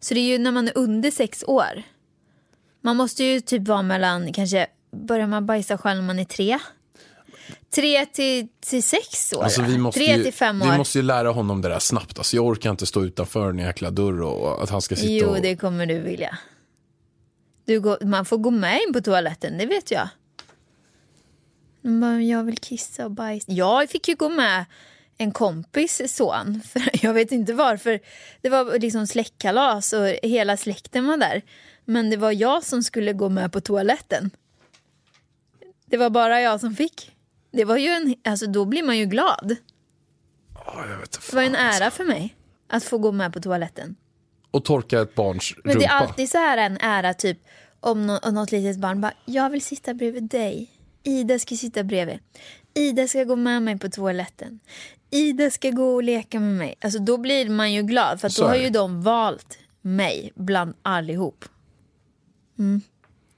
Speaker 2: Så det är ju när man är under sex år. Man måste ju typ vara mellan, kanske börjar man bajsa själv när man är tre? Tre till, till sex år?
Speaker 3: Alltså,
Speaker 2: va?
Speaker 3: vi måste
Speaker 2: tre
Speaker 3: ju,
Speaker 2: till fem år?
Speaker 3: Vi måste ju lära honom det där snabbt. Alltså, jag orkar inte stå utanför en jäkla dörr och och att han ska sitta
Speaker 2: Jo
Speaker 3: och...
Speaker 2: det kommer du vilja. Du går, man får gå med in på toaletten, det vet jag. Man bara, jag vill kissa och bajsa. Jag fick ju gå med en kompis son. [LAUGHS] För jag vet inte varför. Det var liksom släktkalas och hela släkten var där. Men det var jag som skulle gå med på toaletten. Det var bara jag som fick. Det var ju en, alltså då blir man ju glad.
Speaker 3: Ja, jag vet,
Speaker 2: Det var en
Speaker 3: fan, alltså.
Speaker 2: ära för mig att få gå med på toaletten.
Speaker 3: Och torka ett barns
Speaker 2: Men
Speaker 3: rumpa.
Speaker 2: det är alltid så här en ära typ om nå- om något litet barn bara jag vill sitta bredvid dig. Ida ska sitta bredvid. Ida ska gå med mig på toaletten. Ida ska gå och leka med mig. Alltså då blir man ju glad för att
Speaker 3: Så
Speaker 2: då
Speaker 3: är
Speaker 2: har
Speaker 3: det.
Speaker 2: ju de valt mig bland allihop. Mm.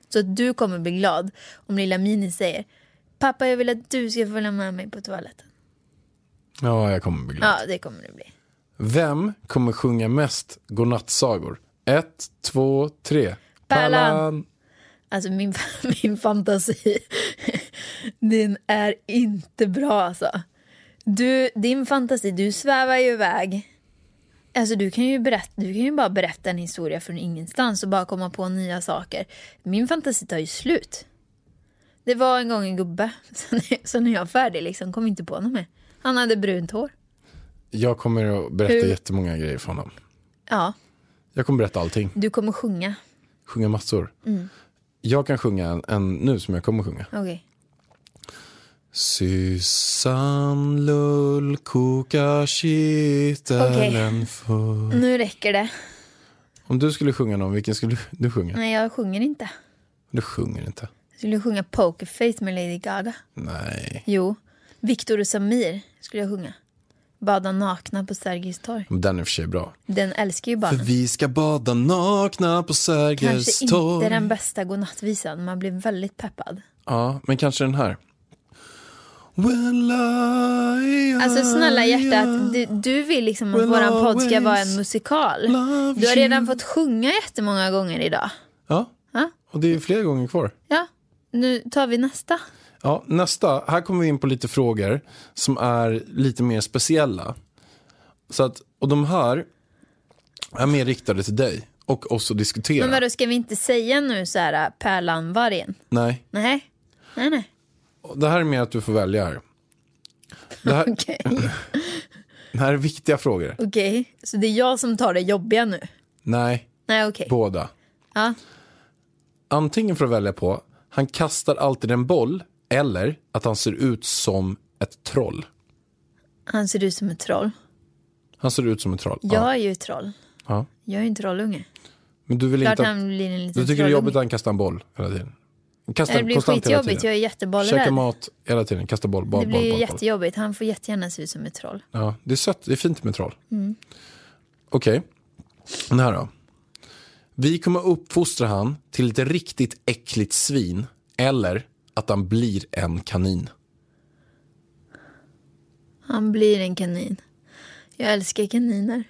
Speaker 2: Så att du kommer bli glad om lilla Mini säger pappa jag vill att du ska följa med mig på toaletten.
Speaker 3: Ja, jag kommer bli glad.
Speaker 2: Ja det kommer det bli.
Speaker 3: Vem kommer sjunga mest godnattsagor? Ett, två, tre.
Speaker 2: Pärlan. Alltså min, [LAUGHS] min fantasi, den är inte bra alltså. Du, din fantasi, du svävar ju iväg. Alltså du kan ju, berätta, du kan ju bara berätta en historia från ingenstans och bara komma på nya saker. Min fantasi tar ju slut. Det var en gång en gubbe, [LAUGHS] sen är, sen är jag färdig liksom, kom inte på något mer. Han hade brunt hår.
Speaker 3: Jag kommer att berätta
Speaker 2: Hur-
Speaker 3: jättemånga grejer för honom.
Speaker 2: Ja,
Speaker 3: Jag kommer berätta allting.
Speaker 2: du kommer sjunga.
Speaker 3: Sjunga massor.
Speaker 2: Mm.
Speaker 3: Jag kan sjunga en, en nu som jag kommer sjunga.
Speaker 2: Okej.
Speaker 3: Syssan lull kokar kittelen full.
Speaker 2: Nu räcker det.
Speaker 3: Om du skulle sjunga någon, vilken skulle du- du sjunga?
Speaker 2: Nej, jag sjunger inte.
Speaker 3: Du sjunger inte.
Speaker 2: Jag skulle sjunga Pokerface med Lady Gaga.
Speaker 3: Nej.
Speaker 2: Jo. Viktor och Samir skulle jag sjunga. Bada nakna på Sergels torg.
Speaker 3: Men Den är i och för sig bra.
Speaker 2: Den älskar ju
Speaker 3: För
Speaker 2: barnen.
Speaker 3: vi ska bada nakna på Sergels
Speaker 2: Kanske inte
Speaker 3: torg.
Speaker 2: den bästa godnattvisan. Man blir väldigt peppad.
Speaker 3: Ja, men kanske den här. Well, I,
Speaker 2: Alltså snälla
Speaker 3: I,
Speaker 2: hjärtat, du, du vill liksom att
Speaker 3: Will
Speaker 2: våran podd ska
Speaker 3: always
Speaker 2: vara en musikal.
Speaker 3: love
Speaker 2: Du har
Speaker 3: you.
Speaker 2: redan fått sjunga jättemånga gånger idag.
Speaker 3: Ja,
Speaker 2: Ja,
Speaker 3: och det är ju fler gånger kvar.
Speaker 2: ja. nu tar vi nästa.
Speaker 3: Ja, nästa. Här kommer vi in på lite frågor som är lite mer speciella. Så att, och de här är mer riktade till dig och oss att diskutera.
Speaker 2: Men vadå, ska vi inte säga nu så här äh, Pärlan vargen?
Speaker 3: Nej,
Speaker 2: Nej, nej, nej.
Speaker 3: det här är mer att du får välja här. Det här,
Speaker 2: [LAUGHS]
Speaker 3: [LAUGHS]
Speaker 2: Okej,
Speaker 3: det här är viktiga frågor.
Speaker 2: okej. Så det är jag som tar det jobbiga nu?
Speaker 3: Nej,
Speaker 2: Nej, okej.
Speaker 3: båda.
Speaker 2: Ja.
Speaker 3: Antingen får du välja på, han kastar alltid en boll, eller att han ser ut som ett troll.
Speaker 2: Han ser ut som ett troll.
Speaker 3: Han ser ut som ett troll.
Speaker 2: Jag är ju ett troll.
Speaker 3: Ja.
Speaker 2: Jag är ju en trollunge.
Speaker 3: Men du vill
Speaker 2: Klart
Speaker 3: inte... att-
Speaker 2: han blir en liten
Speaker 3: Du tycker det är
Speaker 2: trollunge.
Speaker 3: jobbigt att han kastar en boll hela tiden? Kastar
Speaker 2: Nej, Det blir
Speaker 3: konstant hela
Speaker 2: skitjobbigt, jag
Speaker 3: tiden.
Speaker 2: är jättebollrädd.
Speaker 3: Käkar mat hela tiden, kastar boll, boll,
Speaker 2: Det blir
Speaker 3: boll,
Speaker 2: ju
Speaker 3: boll, boll.
Speaker 2: jättejobbigt. Han får jättegärna se ut som ett troll.
Speaker 3: Ja, det är sött, det är fint med troll.
Speaker 2: Mm.
Speaker 3: Okej, den här då. Vi kommer uppfostra han till ett riktigt äckligt svin eller att han blir en kanin.
Speaker 2: Han blir en kanin. Jag älskar
Speaker 3: [LAUGHS]
Speaker 2: kaniner.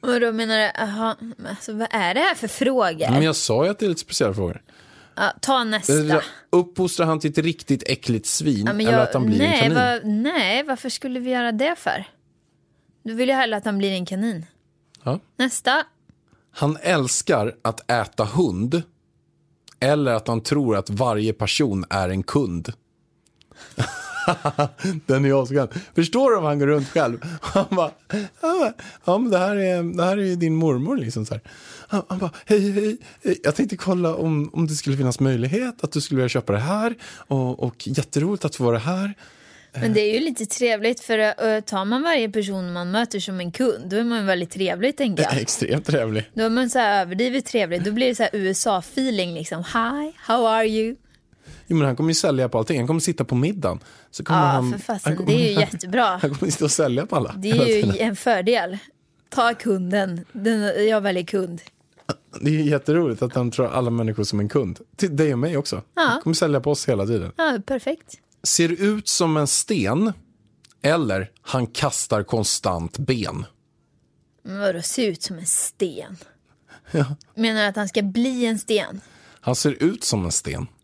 Speaker 2: Vadå menar du? Aha, men alltså, vad är det här för frågor?
Speaker 3: Men jag sa ju att det är lite speciella frågor.
Speaker 2: Ja, ta nästa.
Speaker 3: Uppfostra han till ett riktigt äckligt svin
Speaker 2: Ja, men
Speaker 3: eller
Speaker 2: jag-
Speaker 3: att han blir en
Speaker 2: nej,
Speaker 3: kanin.
Speaker 2: vad- nej, varför skulle vi göra det för? Du vill ju hellre att han blir en kanin.
Speaker 3: Ja.
Speaker 2: Nästa.
Speaker 3: Han älskar att äta hund eller att han tror att varje person är en kund. [LAUGHS] Den är asgrön. Förstår du om han går runt själv? Han bara, han bara ja men det här är, det här är ju din mormor liksom så här. Han, han bara, hej, hej, hej, jag tänkte kolla om, om det skulle finnas möjlighet att du skulle vilja köpa det här och, och jätteroligt att få vara här.
Speaker 2: Men det är ju lite trevligt för eh, tar man varje person man möter som en kund då är man ju väldigt trevlig tänker jag.
Speaker 3: [LAUGHS] Extremt trevlig.
Speaker 2: Då är man så här överdrivet trevlig. Då blir det så här USA-feeling liksom. Hi, how are you?
Speaker 3: Jo, men han kommer ju sälja på allting, han kommer sitta på middagen. Så kommer
Speaker 2: Ja,
Speaker 3: han,
Speaker 2: för fasen.
Speaker 3: han kommer-
Speaker 2: Det är ju jättebra.
Speaker 3: [LAUGHS] Han kommer sitta och sälja på alla.
Speaker 2: Det
Speaker 3: hela
Speaker 2: är
Speaker 3: tiden.
Speaker 2: ju en fördel. Ta kunden. Den, jag väljer kund.
Speaker 3: Det är jätteroligt att han tror alla människor som en kund. Till dig och mig också. Han kommer sälja på oss hela tiden.
Speaker 2: Ja, perfekt.
Speaker 3: Ser ut som en sten eller han kastar konstant ben.
Speaker 2: Men vadå, se ut som en sten? Menar du att han ska bli en sten?
Speaker 3: Han ser ut som en sten. [LAUGHS]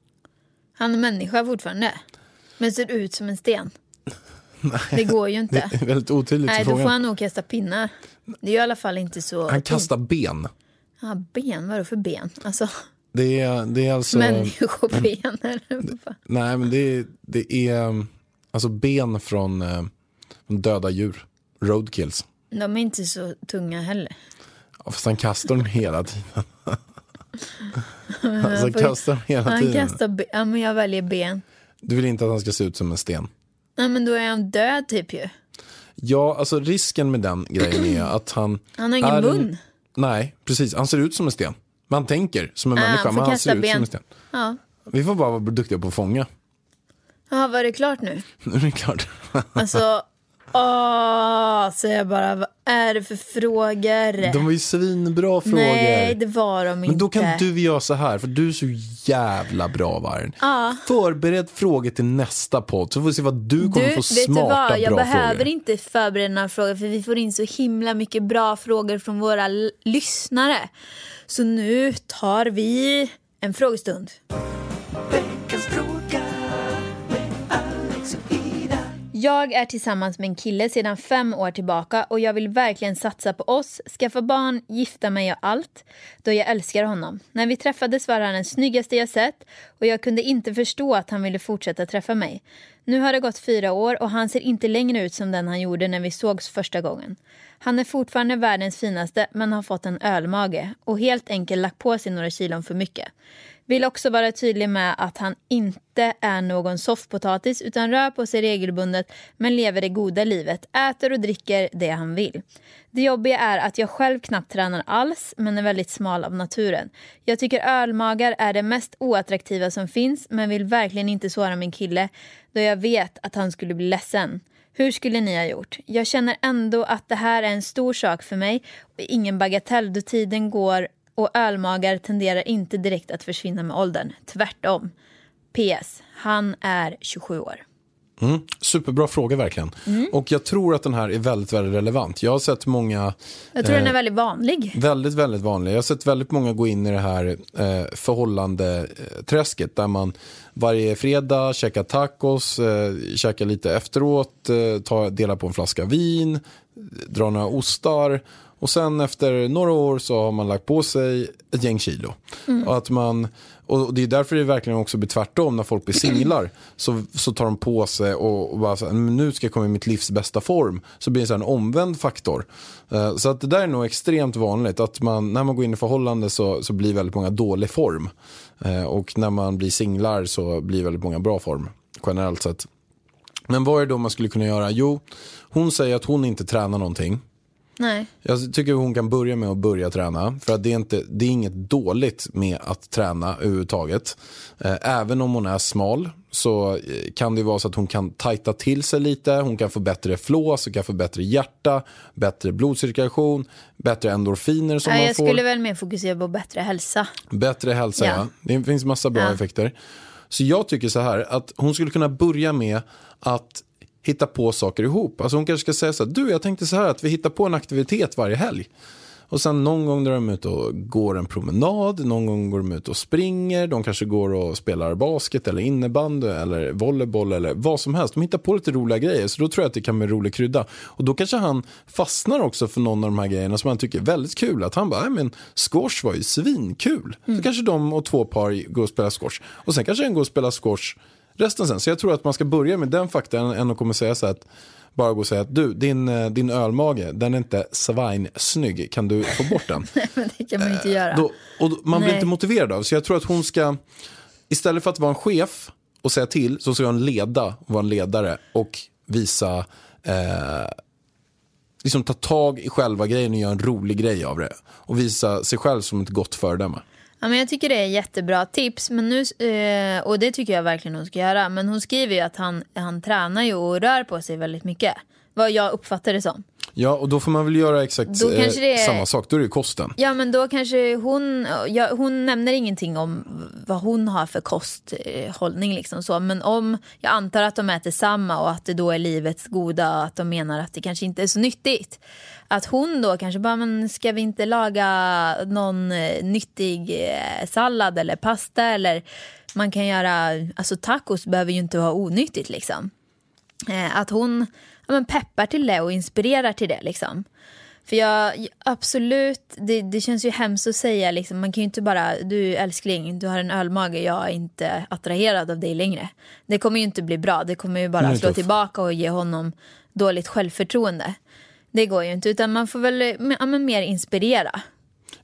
Speaker 2: Han är människa fortfarande. Men ser ut som en
Speaker 3: [LAUGHS]
Speaker 2: sten. Det går ju inte.
Speaker 3: Det är väldigt otydligt i
Speaker 2: Nej, då
Speaker 3: frågan.
Speaker 2: får han
Speaker 3: Han...
Speaker 2: nog kasta pinnar. Det är ju i alla fall inte så...
Speaker 3: kastar ben.
Speaker 2: Ja, ben, vadå för ben? Alltså,
Speaker 3: Det är, det är alltså...
Speaker 2: människoben eller vad fan?
Speaker 3: Nej, men det är, det är um, alltså ben från, eh, från döda djur. Roadkills.
Speaker 2: De är inte så tunga heller.
Speaker 3: Ja, Fast han kastar dem
Speaker 2: [LAUGHS]
Speaker 3: hela tiden. alltså, han
Speaker 2: får ju-
Speaker 3: kastar dem hela
Speaker 2: Han
Speaker 3: tiden.
Speaker 2: kastar ben. Ja, men jag väljer ben.
Speaker 3: Du vill inte att han ska se ut som en sten.
Speaker 2: Nej, men då är han död typ ju.
Speaker 3: Ja, alltså risken med den
Speaker 2: [CLEARS THROAT]
Speaker 3: grejen är att han...
Speaker 2: Han har ingen
Speaker 3: är en-
Speaker 2: mun.
Speaker 3: Nej, precis. Han ser ut som en sten. Man tänker som en
Speaker 2: Ah,
Speaker 3: människa,
Speaker 2: han får
Speaker 3: men han
Speaker 2: kasta
Speaker 3: ser ut
Speaker 2: ben.
Speaker 3: som en sten.
Speaker 2: Ja.
Speaker 3: Vi får bara vara duktiga på att fånga. [LAUGHS]
Speaker 2: Ja, var det klart nu?
Speaker 3: Nu är det klart. [LAUGHS]
Speaker 2: Alltså, åh, säger jag bara, vad är det för frågor?
Speaker 3: De var ju svinbra frågor.
Speaker 2: Nej, det var de inte.
Speaker 3: men då kan du göra så här, för du är så jävla bra Vargen. Förbered frågor till nästa podd, så får vi se vad du kommer
Speaker 2: Du,
Speaker 3: få
Speaker 2: vet du
Speaker 3: smarta
Speaker 2: vad? Jag
Speaker 3: bra
Speaker 2: behöver
Speaker 3: frågor.
Speaker 2: inte förbereda några frågor för vi får in så himla mycket bra frågor från våra l- lyssnare. Så nu tar vi en frågestund.
Speaker 1: Veckans fråga med Alex och Ida.
Speaker 2: Jag är tillsammans med en kille sedan fem år tillbaka och jag vill verkligen satsa på oss, skaffa barn, gifta mig och allt, då jag älskar honom. När vi träffades var han den snyggaste jag sett och jag kunde inte förstå att han ville fortsätta träffa mig. Nu har det gått fyra år och han ser inte längre ut som den han gjorde när vi sågs första gången. Han är fortfarande världens finaste men har fått en ölmage och helt enkelt lagt på sig några kilon för mycket. Vill också vara tydlig med att han inte är någon soffpotatis utan rör på sig regelbundet men lever det goda livet, äter och dricker det han vill. Det jobbiga är att jag själv knappt tränar alls men är väldigt smal av naturen. Jag tycker ölmagar är det mest oattraktiva som finns men vill verkligen inte såra min kille då jag vet att han skulle bli ledsen. Hur skulle ni ha gjort? Jag känner ändå att det här är en stor sak för mig och ingen bagatell då tiden går och ölmagar tenderar inte direkt att försvinna med åldern. Tvärtom. PS. Han är 27 år.
Speaker 3: Superbra fråga verkligen. Och jag tror att den här är väldigt, väldigt relevant. Jag har sett många
Speaker 2: Jag tror den
Speaker 3: Eh.
Speaker 2: är väldigt vanlig.
Speaker 3: Väldigt, väldigt vanlig. Jag har sett väldigt många gå in i det här eh, förhållandeträsket där man varje fredag käkar tacos, eh, käkar lite efteråt, eh, tar, delar på en flaska vin, drar några ostar och sen efter några år så har man lagt på sig ett gäng kilo. Och att man, och Och det är därför det verkligen också blir tvärtom när folk blir singlar. Så, så tar de på sig och, och bara så här, "Men nu ska jag komma i mitt livs bästa form. Så blir det så här en omvänd faktor. Eh, Så att det där är nog extremt vanligt. Att man, när man går in i förhållande så, så blir väldigt många dålig form. Eh, Och när man blir singlar så blir väldigt många bra form. Generellt sett. Men vad är det då man skulle kunna göra? Jo, hon säger att hon inte tränar någonting.
Speaker 2: Nej.
Speaker 3: Jag tycker hon kan börja med att börja träna. För att det är, inte, det är inget dåligt med att träna överhuvudtaget. Eh, Även om hon är smal så eh, kan det vara så att hon kan tajta till sig lite. Hon kan få bättre flås, hon kan få bättre hjärta, bättre blodcirkulation, bättre endorfiner som
Speaker 2: Nej,
Speaker 3: man
Speaker 2: jag
Speaker 3: får.
Speaker 2: skulle väl mer fokusera på bättre hälsa. [LAUGHS]
Speaker 3: Bättre hälsa, ja.
Speaker 2: Ja.
Speaker 3: Det finns massa bra
Speaker 2: Ja.
Speaker 3: effekter. Så jag tycker så här, att hon skulle kunna börja med att hitta på saker ihop. Alltså hon kanske ska säga så här, du jag tänkte så här att vi hittar på en aktivitet varje helg. Och sen någon gång drar de ut och går en promenad, någon gång går de ut och springer, de kanske går och spelar basket eller innebandy eller volleyboll eller vad som helst. De hittar på lite roliga grejer så då tror jag att det kan bli en rolig krydda. Och då kanske han fastnar också för någon av de här grejerna som han tycker är väldigt kul. Att han bara, "Nej, men squash var ju svinkul. Så kanske de och två par går och spelar squash. Och sen kanske en går och spelar squash resten sen. Så jag tror att man ska börja med den faktan än att komma och säga så här att bara gå och säga att du, din, eh, din ölmage, den är inte svinsnygg, kan du få
Speaker 2: [LAUGHS]
Speaker 3: bort den?
Speaker 2: Men det kan man inte göra.
Speaker 3: Eh, Då, och då- man blir
Speaker 2: Nej.
Speaker 3: inte motiverad av, så jag tror att hon ska, istället för att vara en chef och säga till, så ska hon leda och vara en ledare och visa, eh, liksom ta tag i själva grejen och göra en rolig grej av det. Och visa sig själv som ett gott föredöme.
Speaker 2: Ja, men jag tycker det är jättebra tips. Men nu, eh, och det tycker jag verkligen hon ska göra. Men hon skriver ju att han, han tränar ju och rör på sig väldigt mycket. Vad jag uppfattar det som.
Speaker 3: Ja, och då får man väl göra exakt
Speaker 2: Då
Speaker 3: eh,
Speaker 2: kanske det är-
Speaker 3: samma sak, då är det ju kosten.
Speaker 2: Ja men då kanske hon, ja, hon nämner ingenting om vad hon har för kosthållning liksom så. Men om, jag antar att de äter samma och att det då är livets goda och att de menar att det kanske inte är så nyttigt. Att hon då kanske bara, men ska vi inte laga någon eh, nyttig eh, sallad eller pasta eller man kan göra, alltså tacos behöver ju inte vara onyttigt liksom. Eh, att hon ja, men peppar till det och inspirerar till det liksom. För jag, absolut, det, det känns ju hemskt att säga liksom, man kan ju inte bara, du älskling, du har en ölmage, jag är inte attraherad av dig längre. Det kommer ju inte bli bra, det kommer ju bara
Speaker 3: Nej,
Speaker 2: slå
Speaker 3: tuff.
Speaker 2: tillbaka och ge honom dåligt självförtroende. Det går ju inte, utan man får väl ja, men mer inspirera.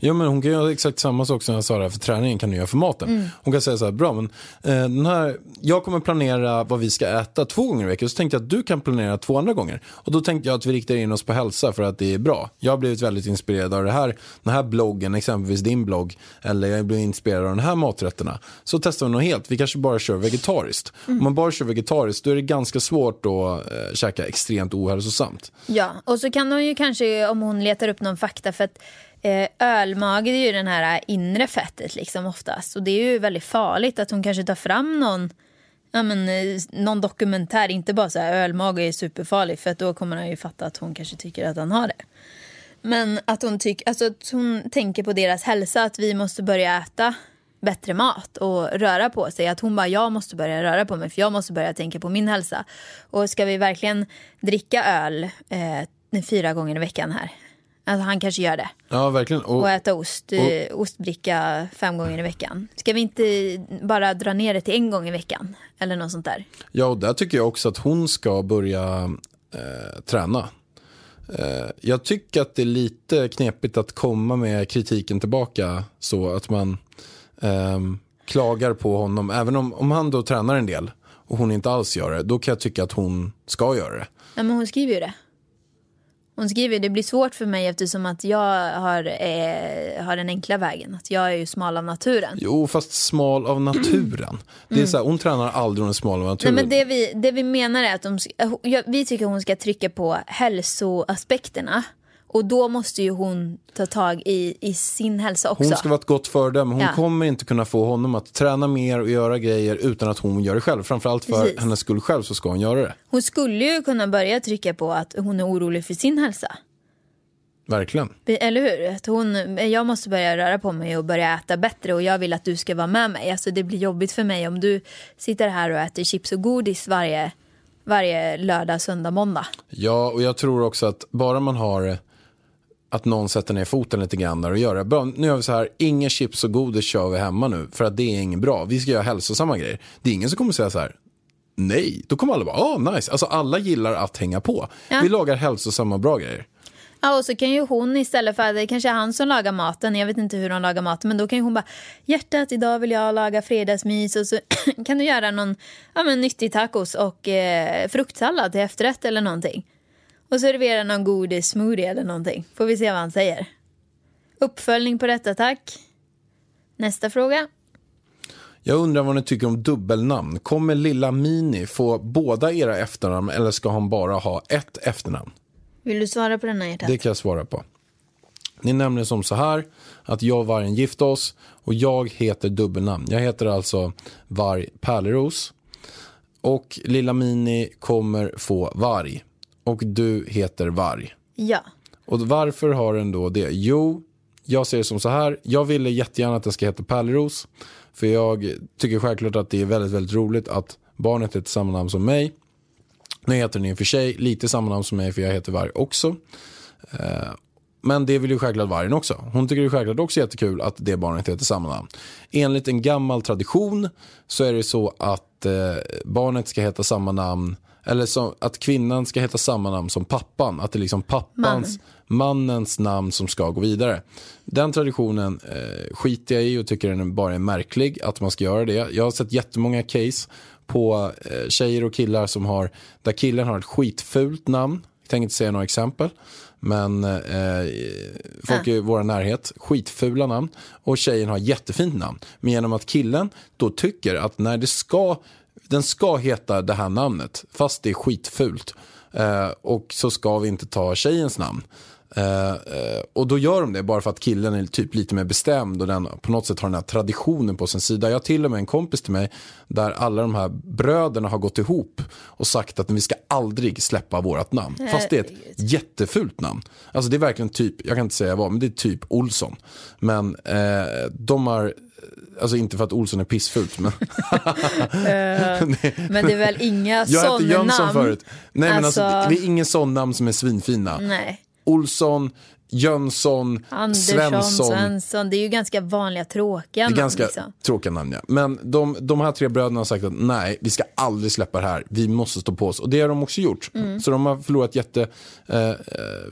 Speaker 3: Ja, men hon kan göra exakt samma sak som jag sa där, för träningen kan du göra för maten. Hon kan säga så här, bra men eh, den här, jag kommer planera vad vi ska äta två gånger i veckan. Så tänkte jag att du kan planera två andra gånger. Och då tänkte jag att vi riktar in oss på hälsa för att det är bra. Jag har blivit väldigt inspirerad av det här, den här bloggen, exempelvis din blogg. Eller jag blir inspirerad av de här maträtterna. Så testar vi något helt, vi kanske bara kör vegetariskt. Om man bara kör vegetariskt då är det ganska svårt att eh, käka extremt ohälsosamt.
Speaker 2: Ja, och så kan hon ju kanske, om hon letar upp någon fakta, för att eh, ölmage det är ju den här eh, inre fettet liksom oftast. Och det är ju väldigt farligt att hon kanske tar fram någon, ja, men, eh, någon dokumentär, inte bara så här ölmage är superfarlig, för att då kommer han ju fatta att hon kanske tycker att han har det. Men att hon, tyck, alltså, att hon tänker på deras hälsa, att vi måste börja äta bättre mat och röra på sig. Att hon bara, jag måste börja röra på mig för jag måste börja tänka på min hälsa. Och ska vi verkligen dricka öl eh, fyra gånger i veckan här? Alltså han kanske gör det.
Speaker 3: Ja, verkligen. Och-
Speaker 2: Och äta ost, eh, ostbricka fem gånger i veckan. Ska vi inte bara dra ner det till en gång i veckan? Eller något sånt där.
Speaker 3: Ja, och där tycker jag också att hon ska börja eh, träna. Eh, jag tycker att det är lite knepigt att komma med kritiken tillbaka så att man ehm, klagar på honom. Även om, om han då tränar en del och hon inte alls gör det, då kan jag tycka att hon ska göra det.
Speaker 2: Ja, men hon skriver ju det. Hon skriver ju, det blir svårt för mig eftersom att jag har, eh, har den enkla vägen. Att jag är ju smal av naturen.
Speaker 3: Jo, fast smal av naturen. Det är så här, hon tränar aldrig hon är smal av
Speaker 2: Nej,
Speaker 3: naturen.
Speaker 2: men det, vi, det vi menar är att de, ska- eh, ja, vi tycker hon ska trycka på hälsoaspekterna. Och då måste ju hon ta tag i, i sin hälsa också.
Speaker 3: Hon ska vara ett gott föredöme. Hon
Speaker 2: Ja.
Speaker 3: kommer inte kunna få honom att träna mer och göra grejer utan att hon gör det själv. Framförallt för
Speaker 2: Precis.
Speaker 3: hennes skull själv så ska hon göra det.
Speaker 2: Hon skulle ju kunna börja trycka på att hon är orolig för sin hälsa.
Speaker 3: Verkligen.
Speaker 2: Be- Eller hur? Att hon, jag måste börja röra på mig och börja äta bättre och jag vill att du ska vara med mig. Alltså det blir jobbigt för mig om du sitter här och äter chips och godis varje, varje lördag, söndag, måndag.
Speaker 3: Ja, och jag tror också att bara man har eh, att någon sätter ner foten lite grann där och gör det. Bra, nu gör vi så här, inga chips och godis kör vi hemma nu för att det är inget bra. Vi ska göra hälsosamma grejer. Det är ingen som kommer säga så här, nej. Då kommer alla bara, ah nice. Alltså alla gillar att hänga på.
Speaker 2: Ja.
Speaker 3: Vi lagar hälsosamma bra grejer.
Speaker 2: Ja, och så kan ju hon istället för, det kanske är han som lagar maten, jag vet inte hur hon lagar maten, men då kan ju hon bara hjärtat idag vill jag laga fredagsmys och så [CLEARS THROAT] kan du göra någon ja, men, nyttig tacos och eh, fruktsallad till efterrätt eller någonting. Och servera någon godis smoothie eller någonting, får vi se vad han säger. Uppföljning på detta tack. Nästa fråga.
Speaker 3: Jag undrar vad ni tycker om dubbelnamn. Kommer lilla Mini få båda era efternamn eller ska hon bara ha ett efternamn?
Speaker 2: Vill du svara på den här hjärtat?
Speaker 3: Det kan jag svara på. Det är nämligen som så här att jag och vargen gifte oss och jag heter dubbelnamn. Jag heter alltså Varg Pärleros och lilla Mini kommer få Varg och du heter Varg.
Speaker 2: Ja.
Speaker 3: Och varför har den då det? Jo, jag ser det som så här. Jag ville jättegärna att den ska heta Pärleros. För jag tycker självklart att det är väldigt, väldigt roligt att barnet heter samma namn som mig. Nu heter den i och för sig lite samma namn som mig för jag heter Varg också. Eh, Men det vill ju självklart vargen också. Hon tycker ju självklart också jättekul att det barnet heter samma namn. Enligt en gammal tradition så är det så att eh, barnet ska heta samma namn eller så, att kvinnan ska heta samma namn som pappan. Att det är liksom pappans, mannens namn som ska gå vidare. Den traditionen eh, skiter jag i och tycker den bara är märklig att man ska göra det. Jag har sett jättemånga case på eh, tjejer och killar som har, där killen har ett skitfult namn. Jag tänker inte säga några exempel. Men eh, folk i vår närhet, skitfula namn. Och tjejen har jättefint namn. Men genom att killen då tycker att när det ska, den ska heta det här namnet, fast det är skitfult. Eh, och så ska vi inte ta tjejens namn. Eh, eh, och då gör de det bara för att killen är typ lite mer bestämd och den på något sätt har den här traditionen på sin sida. Jag har till och med en kompis till mig där alla de här bröderna har gått ihop och sagt att vi ska aldrig släppa vårt namn. Fast det är ett jättefult namn. Alltså det är verkligen typ, jag kan inte säga vad, men det är typ Olsson. Men eh, de har, alltså inte för att Olsson är
Speaker 2: [LAUGHS]
Speaker 3: pissfult, men
Speaker 2: Men det är väl inga
Speaker 3: [LAUGHS] jag hette
Speaker 2: sådana
Speaker 3: Jönsson
Speaker 2: namn?
Speaker 3: förut. Nej men alltså,
Speaker 2: Alltså-
Speaker 3: det, det är ingen sån namn som är svinfina.
Speaker 2: Nej.
Speaker 3: Olsson, Jönsson,
Speaker 2: Andersson,
Speaker 3: Svensson.
Speaker 2: Svensson. Det är ju ganska vanliga tråkiga
Speaker 3: Det är
Speaker 2: namn.
Speaker 3: ganska
Speaker 2: Liksom.
Speaker 3: tråkiga namn ja. Men de, de här tre bröderna har sagt att nej, vi ska aldrig släppa det här. Vi måste stå på oss. Och det har de också gjort. Så de har förlorat jättefina eh,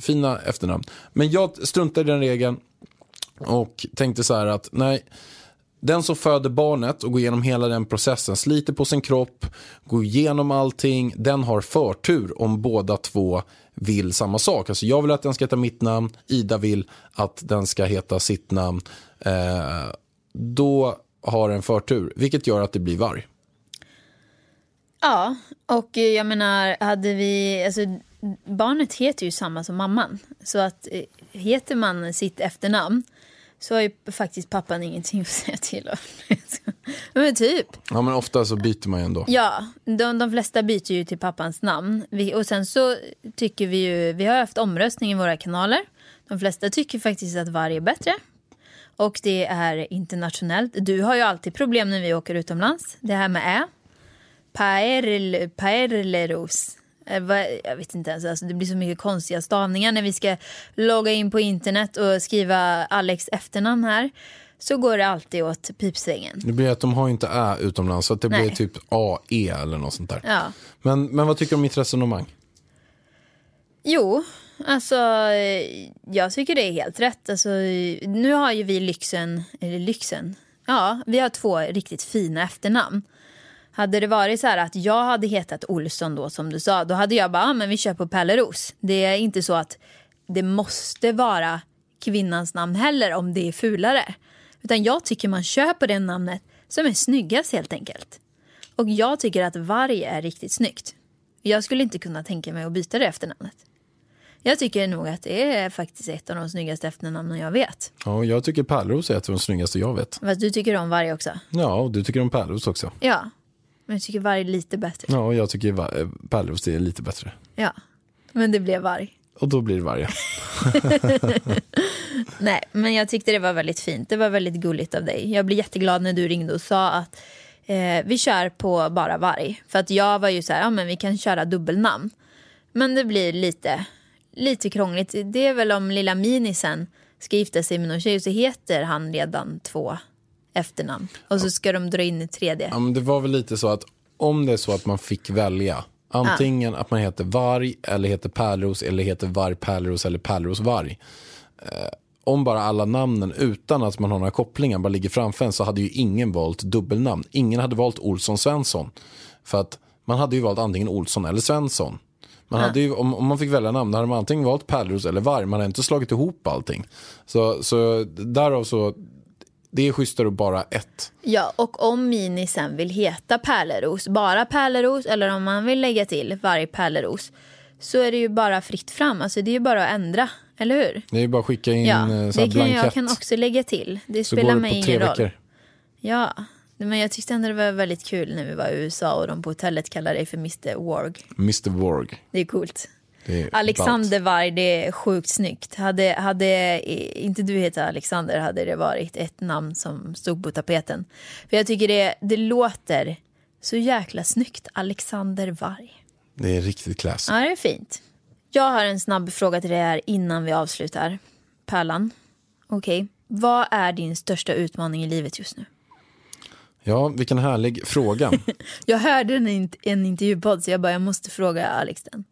Speaker 3: fina efternamn. Men jag struntade i den regeln och tänkte så här att nej, den som föder barnet och går igenom hela den processen, sliter på sin kropp, går igenom allting, den har förtur om båda två vill samma sak. Alltså jag vill att den ska heta mitt namn, Ida vill att den ska heta sitt namn. Eh, då har den förtur, vilket gör att det blir varg.
Speaker 2: Ja, och eh, jag menar, hade vi... Alltså, barnet heter ju samma som mamman. Så att eh, heter man sitt efternamn så har ju faktiskt pappan ingenting att säga till om. [LAUGHS] Men typ.
Speaker 3: Ja, men ofta så byter man ju ändå.
Speaker 2: Ja, de, de flesta byter ju till pappans namn. Vi, och sen så tycker vi ju, vi har haft omröstning i våra kanaler. De flesta tycker faktiskt att varg är bättre. Och det är internationellt. Du har ju alltid problem när vi åker utomlands. Det här med ä. Paerl, paerleros. Eh, vad- Jag vet inte ens, alltså det blir så mycket konstiga stavningar när vi ska logga in på internet och skriva Alex efternamn här. Så går det alltid åt pipsvängen.
Speaker 3: Det blir att de har inte ä utomlands, så att det
Speaker 2: Nej.
Speaker 3: blir typ AE eller något sånt där.
Speaker 2: Ja.
Speaker 3: Men, men vad tycker du om mitt resonemang?
Speaker 2: Jo, alltså eh, jag tycker det är helt rätt. Alltså, eh, nu har ju vi lyxen, eller lyxen, ja, vi har två riktigt fina efternamn. Hade det varit så här att jag hade hetat Olsson då som du sa, då hade jag bara, ah, men vi kör på Pelleros. Det är inte så att det måste vara kvinnans namn heller om det är fulare. Utan jag tycker man kör på det namnet som är snyggast helt enkelt. Och jag tycker att varg är riktigt snyggt. Jag skulle inte kunna tänka mig att byta det efternamnet. Jag tycker nog att det är faktiskt ett av de snyggaste efternamnen jag vet.
Speaker 3: Ja, jag tycker Pärleros är ett av de snyggaste jag vet.
Speaker 2: Fast du tycker om varg också.
Speaker 3: Ja, och du tycker om Pärleros också.
Speaker 2: Ja, men jag tycker varg lite bättre.
Speaker 3: Ja, och jag tycker va- eh, Pärleros är lite bättre.
Speaker 2: Ja, men det blev varg.
Speaker 3: Och då blir det varje.
Speaker 2: Nej, men jag tyckte det var väldigt fint. Det var väldigt gulligt av dig. Jag blev jätteglad när du ringde och sa att eh, vi kör på bara varg. För att jag var ju så här, ja men vi kan köra dubbelnamn. Men det blir lite, lite krångligt. Det är väl om lilla Minisen ska gifta sig med någon tjej så heter han redan två efternamn. Och så ska de dra in ett tredje.
Speaker 3: Ja, men det var väl lite så att om det är så att man fick välja antingen att man heter varg eller heter pärleros eller heter varg pärleros eller pärleros varg. Eh, om bara alla namnen utan att man har några kopplingar bara ligger framför en så hade ju ingen valt dubbelnamn. Ingen hade valt Olsson Svensson. För att man hade ju valt antingen Olsson eller Svensson. Man hade ju, om, om man fick välja namn då hade man antingen valt pärleros eller varg. Man hade inte slagit ihop allting. Så, så därav så, det är schysstare att bara ett.
Speaker 2: Ja, och om Minisen vill heta Pärleros, bara Pärleros eller om man vill lägga till varje Pärleros så är det ju bara fritt fram. Alltså det är ju bara att ändra, eller hur?
Speaker 3: Det är ju bara att skicka in
Speaker 2: Ja,
Speaker 3: eh, sån här
Speaker 2: det kan
Speaker 3: blankett.
Speaker 2: jag kan också lägga till. Det
Speaker 3: så
Speaker 2: spelar
Speaker 3: går
Speaker 2: mig
Speaker 3: det på tre
Speaker 2: ingen roll.
Speaker 3: veckor.
Speaker 2: Ja, men jag tyckte ändå det var väldigt kul när vi var i USA och de på hotellet kallade dig för Mr. Warg.
Speaker 3: Mr. Worg.
Speaker 2: Det är coolt.
Speaker 3: Det är
Speaker 2: Alexander
Speaker 3: ballt.
Speaker 2: Varg, det är sjukt snyggt. Hade, hade eh, inte du hetat Alexander hade det varit ett namn som stod på tapeten. För jag tycker det, det låter så jäkla snyggt, Alexander Varg.
Speaker 3: Det är riktigt class.
Speaker 2: Ja, det är fint. Jag har en snabb fråga till dig här innan vi avslutar. Pärlan, okej. Vad är din största utmaning i livet just nu?
Speaker 3: Ja, vilken
Speaker 2: [LAUGHS]
Speaker 3: härlig fråga.
Speaker 2: Jag hörde en, int- en intervjupodd så jag bara, jag måste fråga Alex den.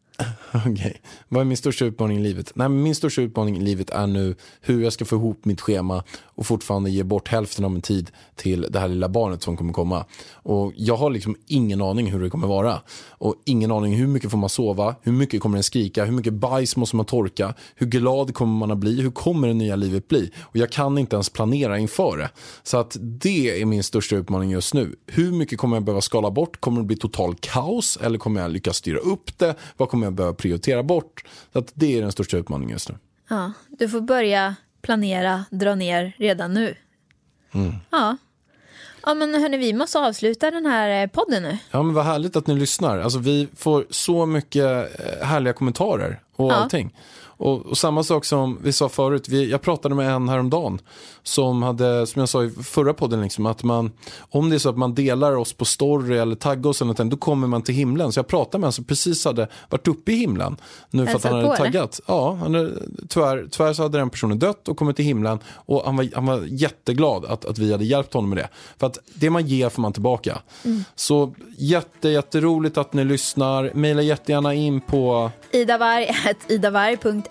Speaker 3: Okej. Vad är min största utmaning i livet? Nej, men min största utmaning i livet är nu hur jag ska få ihop mitt schema och fortfarande ge bort hälften av min tid till det här lilla barnet som kommer komma. Och jag har liksom ingen aning hur det kommer vara. Och ingen aning hur mycket får man sova? Hur mycket kommer den skrika? Hur mycket bajs måste man torka? Hur glad kommer man att bli? Hur kommer det nya livet bli? Och jag kan inte ens planera inför det. Så att det är min största utmaning just nu. Hur mycket kommer jag behöva skala bort? Kommer det bli total kaos? Eller kommer jag lyckas styra upp det? Vad kommer jag behöva prioritera bort? Så att det är den största utmaningen just nu.
Speaker 2: Ja, du får börja planera, dra ner redan nu. Ja. Ja men hörni, vi måste avsluta den här eh, podden nu.
Speaker 3: Ja, men vad härligt att ni lyssnar. Alltså, vi får så mycket eh, härliga kommentarer och allting. Och, och samma sak som vi sa förut, vi, jag pratade med en häromdagen som hade, som jag sa i förra podden, liksom, att man, om det är så att man delar oss på story eller taggar oss eller någonting, då kommer man till himlen. Så jag pratade med en som precis hade varit uppe i himlen nu för att
Speaker 2: Hälsat
Speaker 3: han hade
Speaker 2: på, eller?
Speaker 3: taggat. Ja, han hade, tyvärr, tyvärr så hade den personen dött och kommit till himlen och han var, han var jätteglad att, att vi hade hjälpt honom med det. För att det man ger får man tillbaka. Så jätte, jätteroligt att ni lyssnar. Maila jättegärna in på
Speaker 2: idavarg.idavarg.se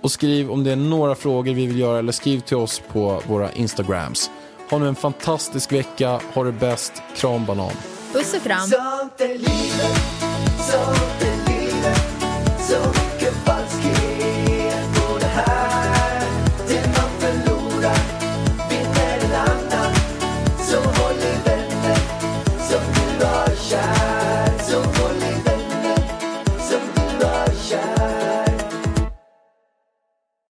Speaker 3: och skriv om det är några frågor vi vill göra eller skriv till oss på våra Instagrams. Ha nu en fantastisk vecka, ha det bäst, kram banan.
Speaker 2: Puss och kram.
Speaker 1: Sånt är livet, sånt är livet, sånt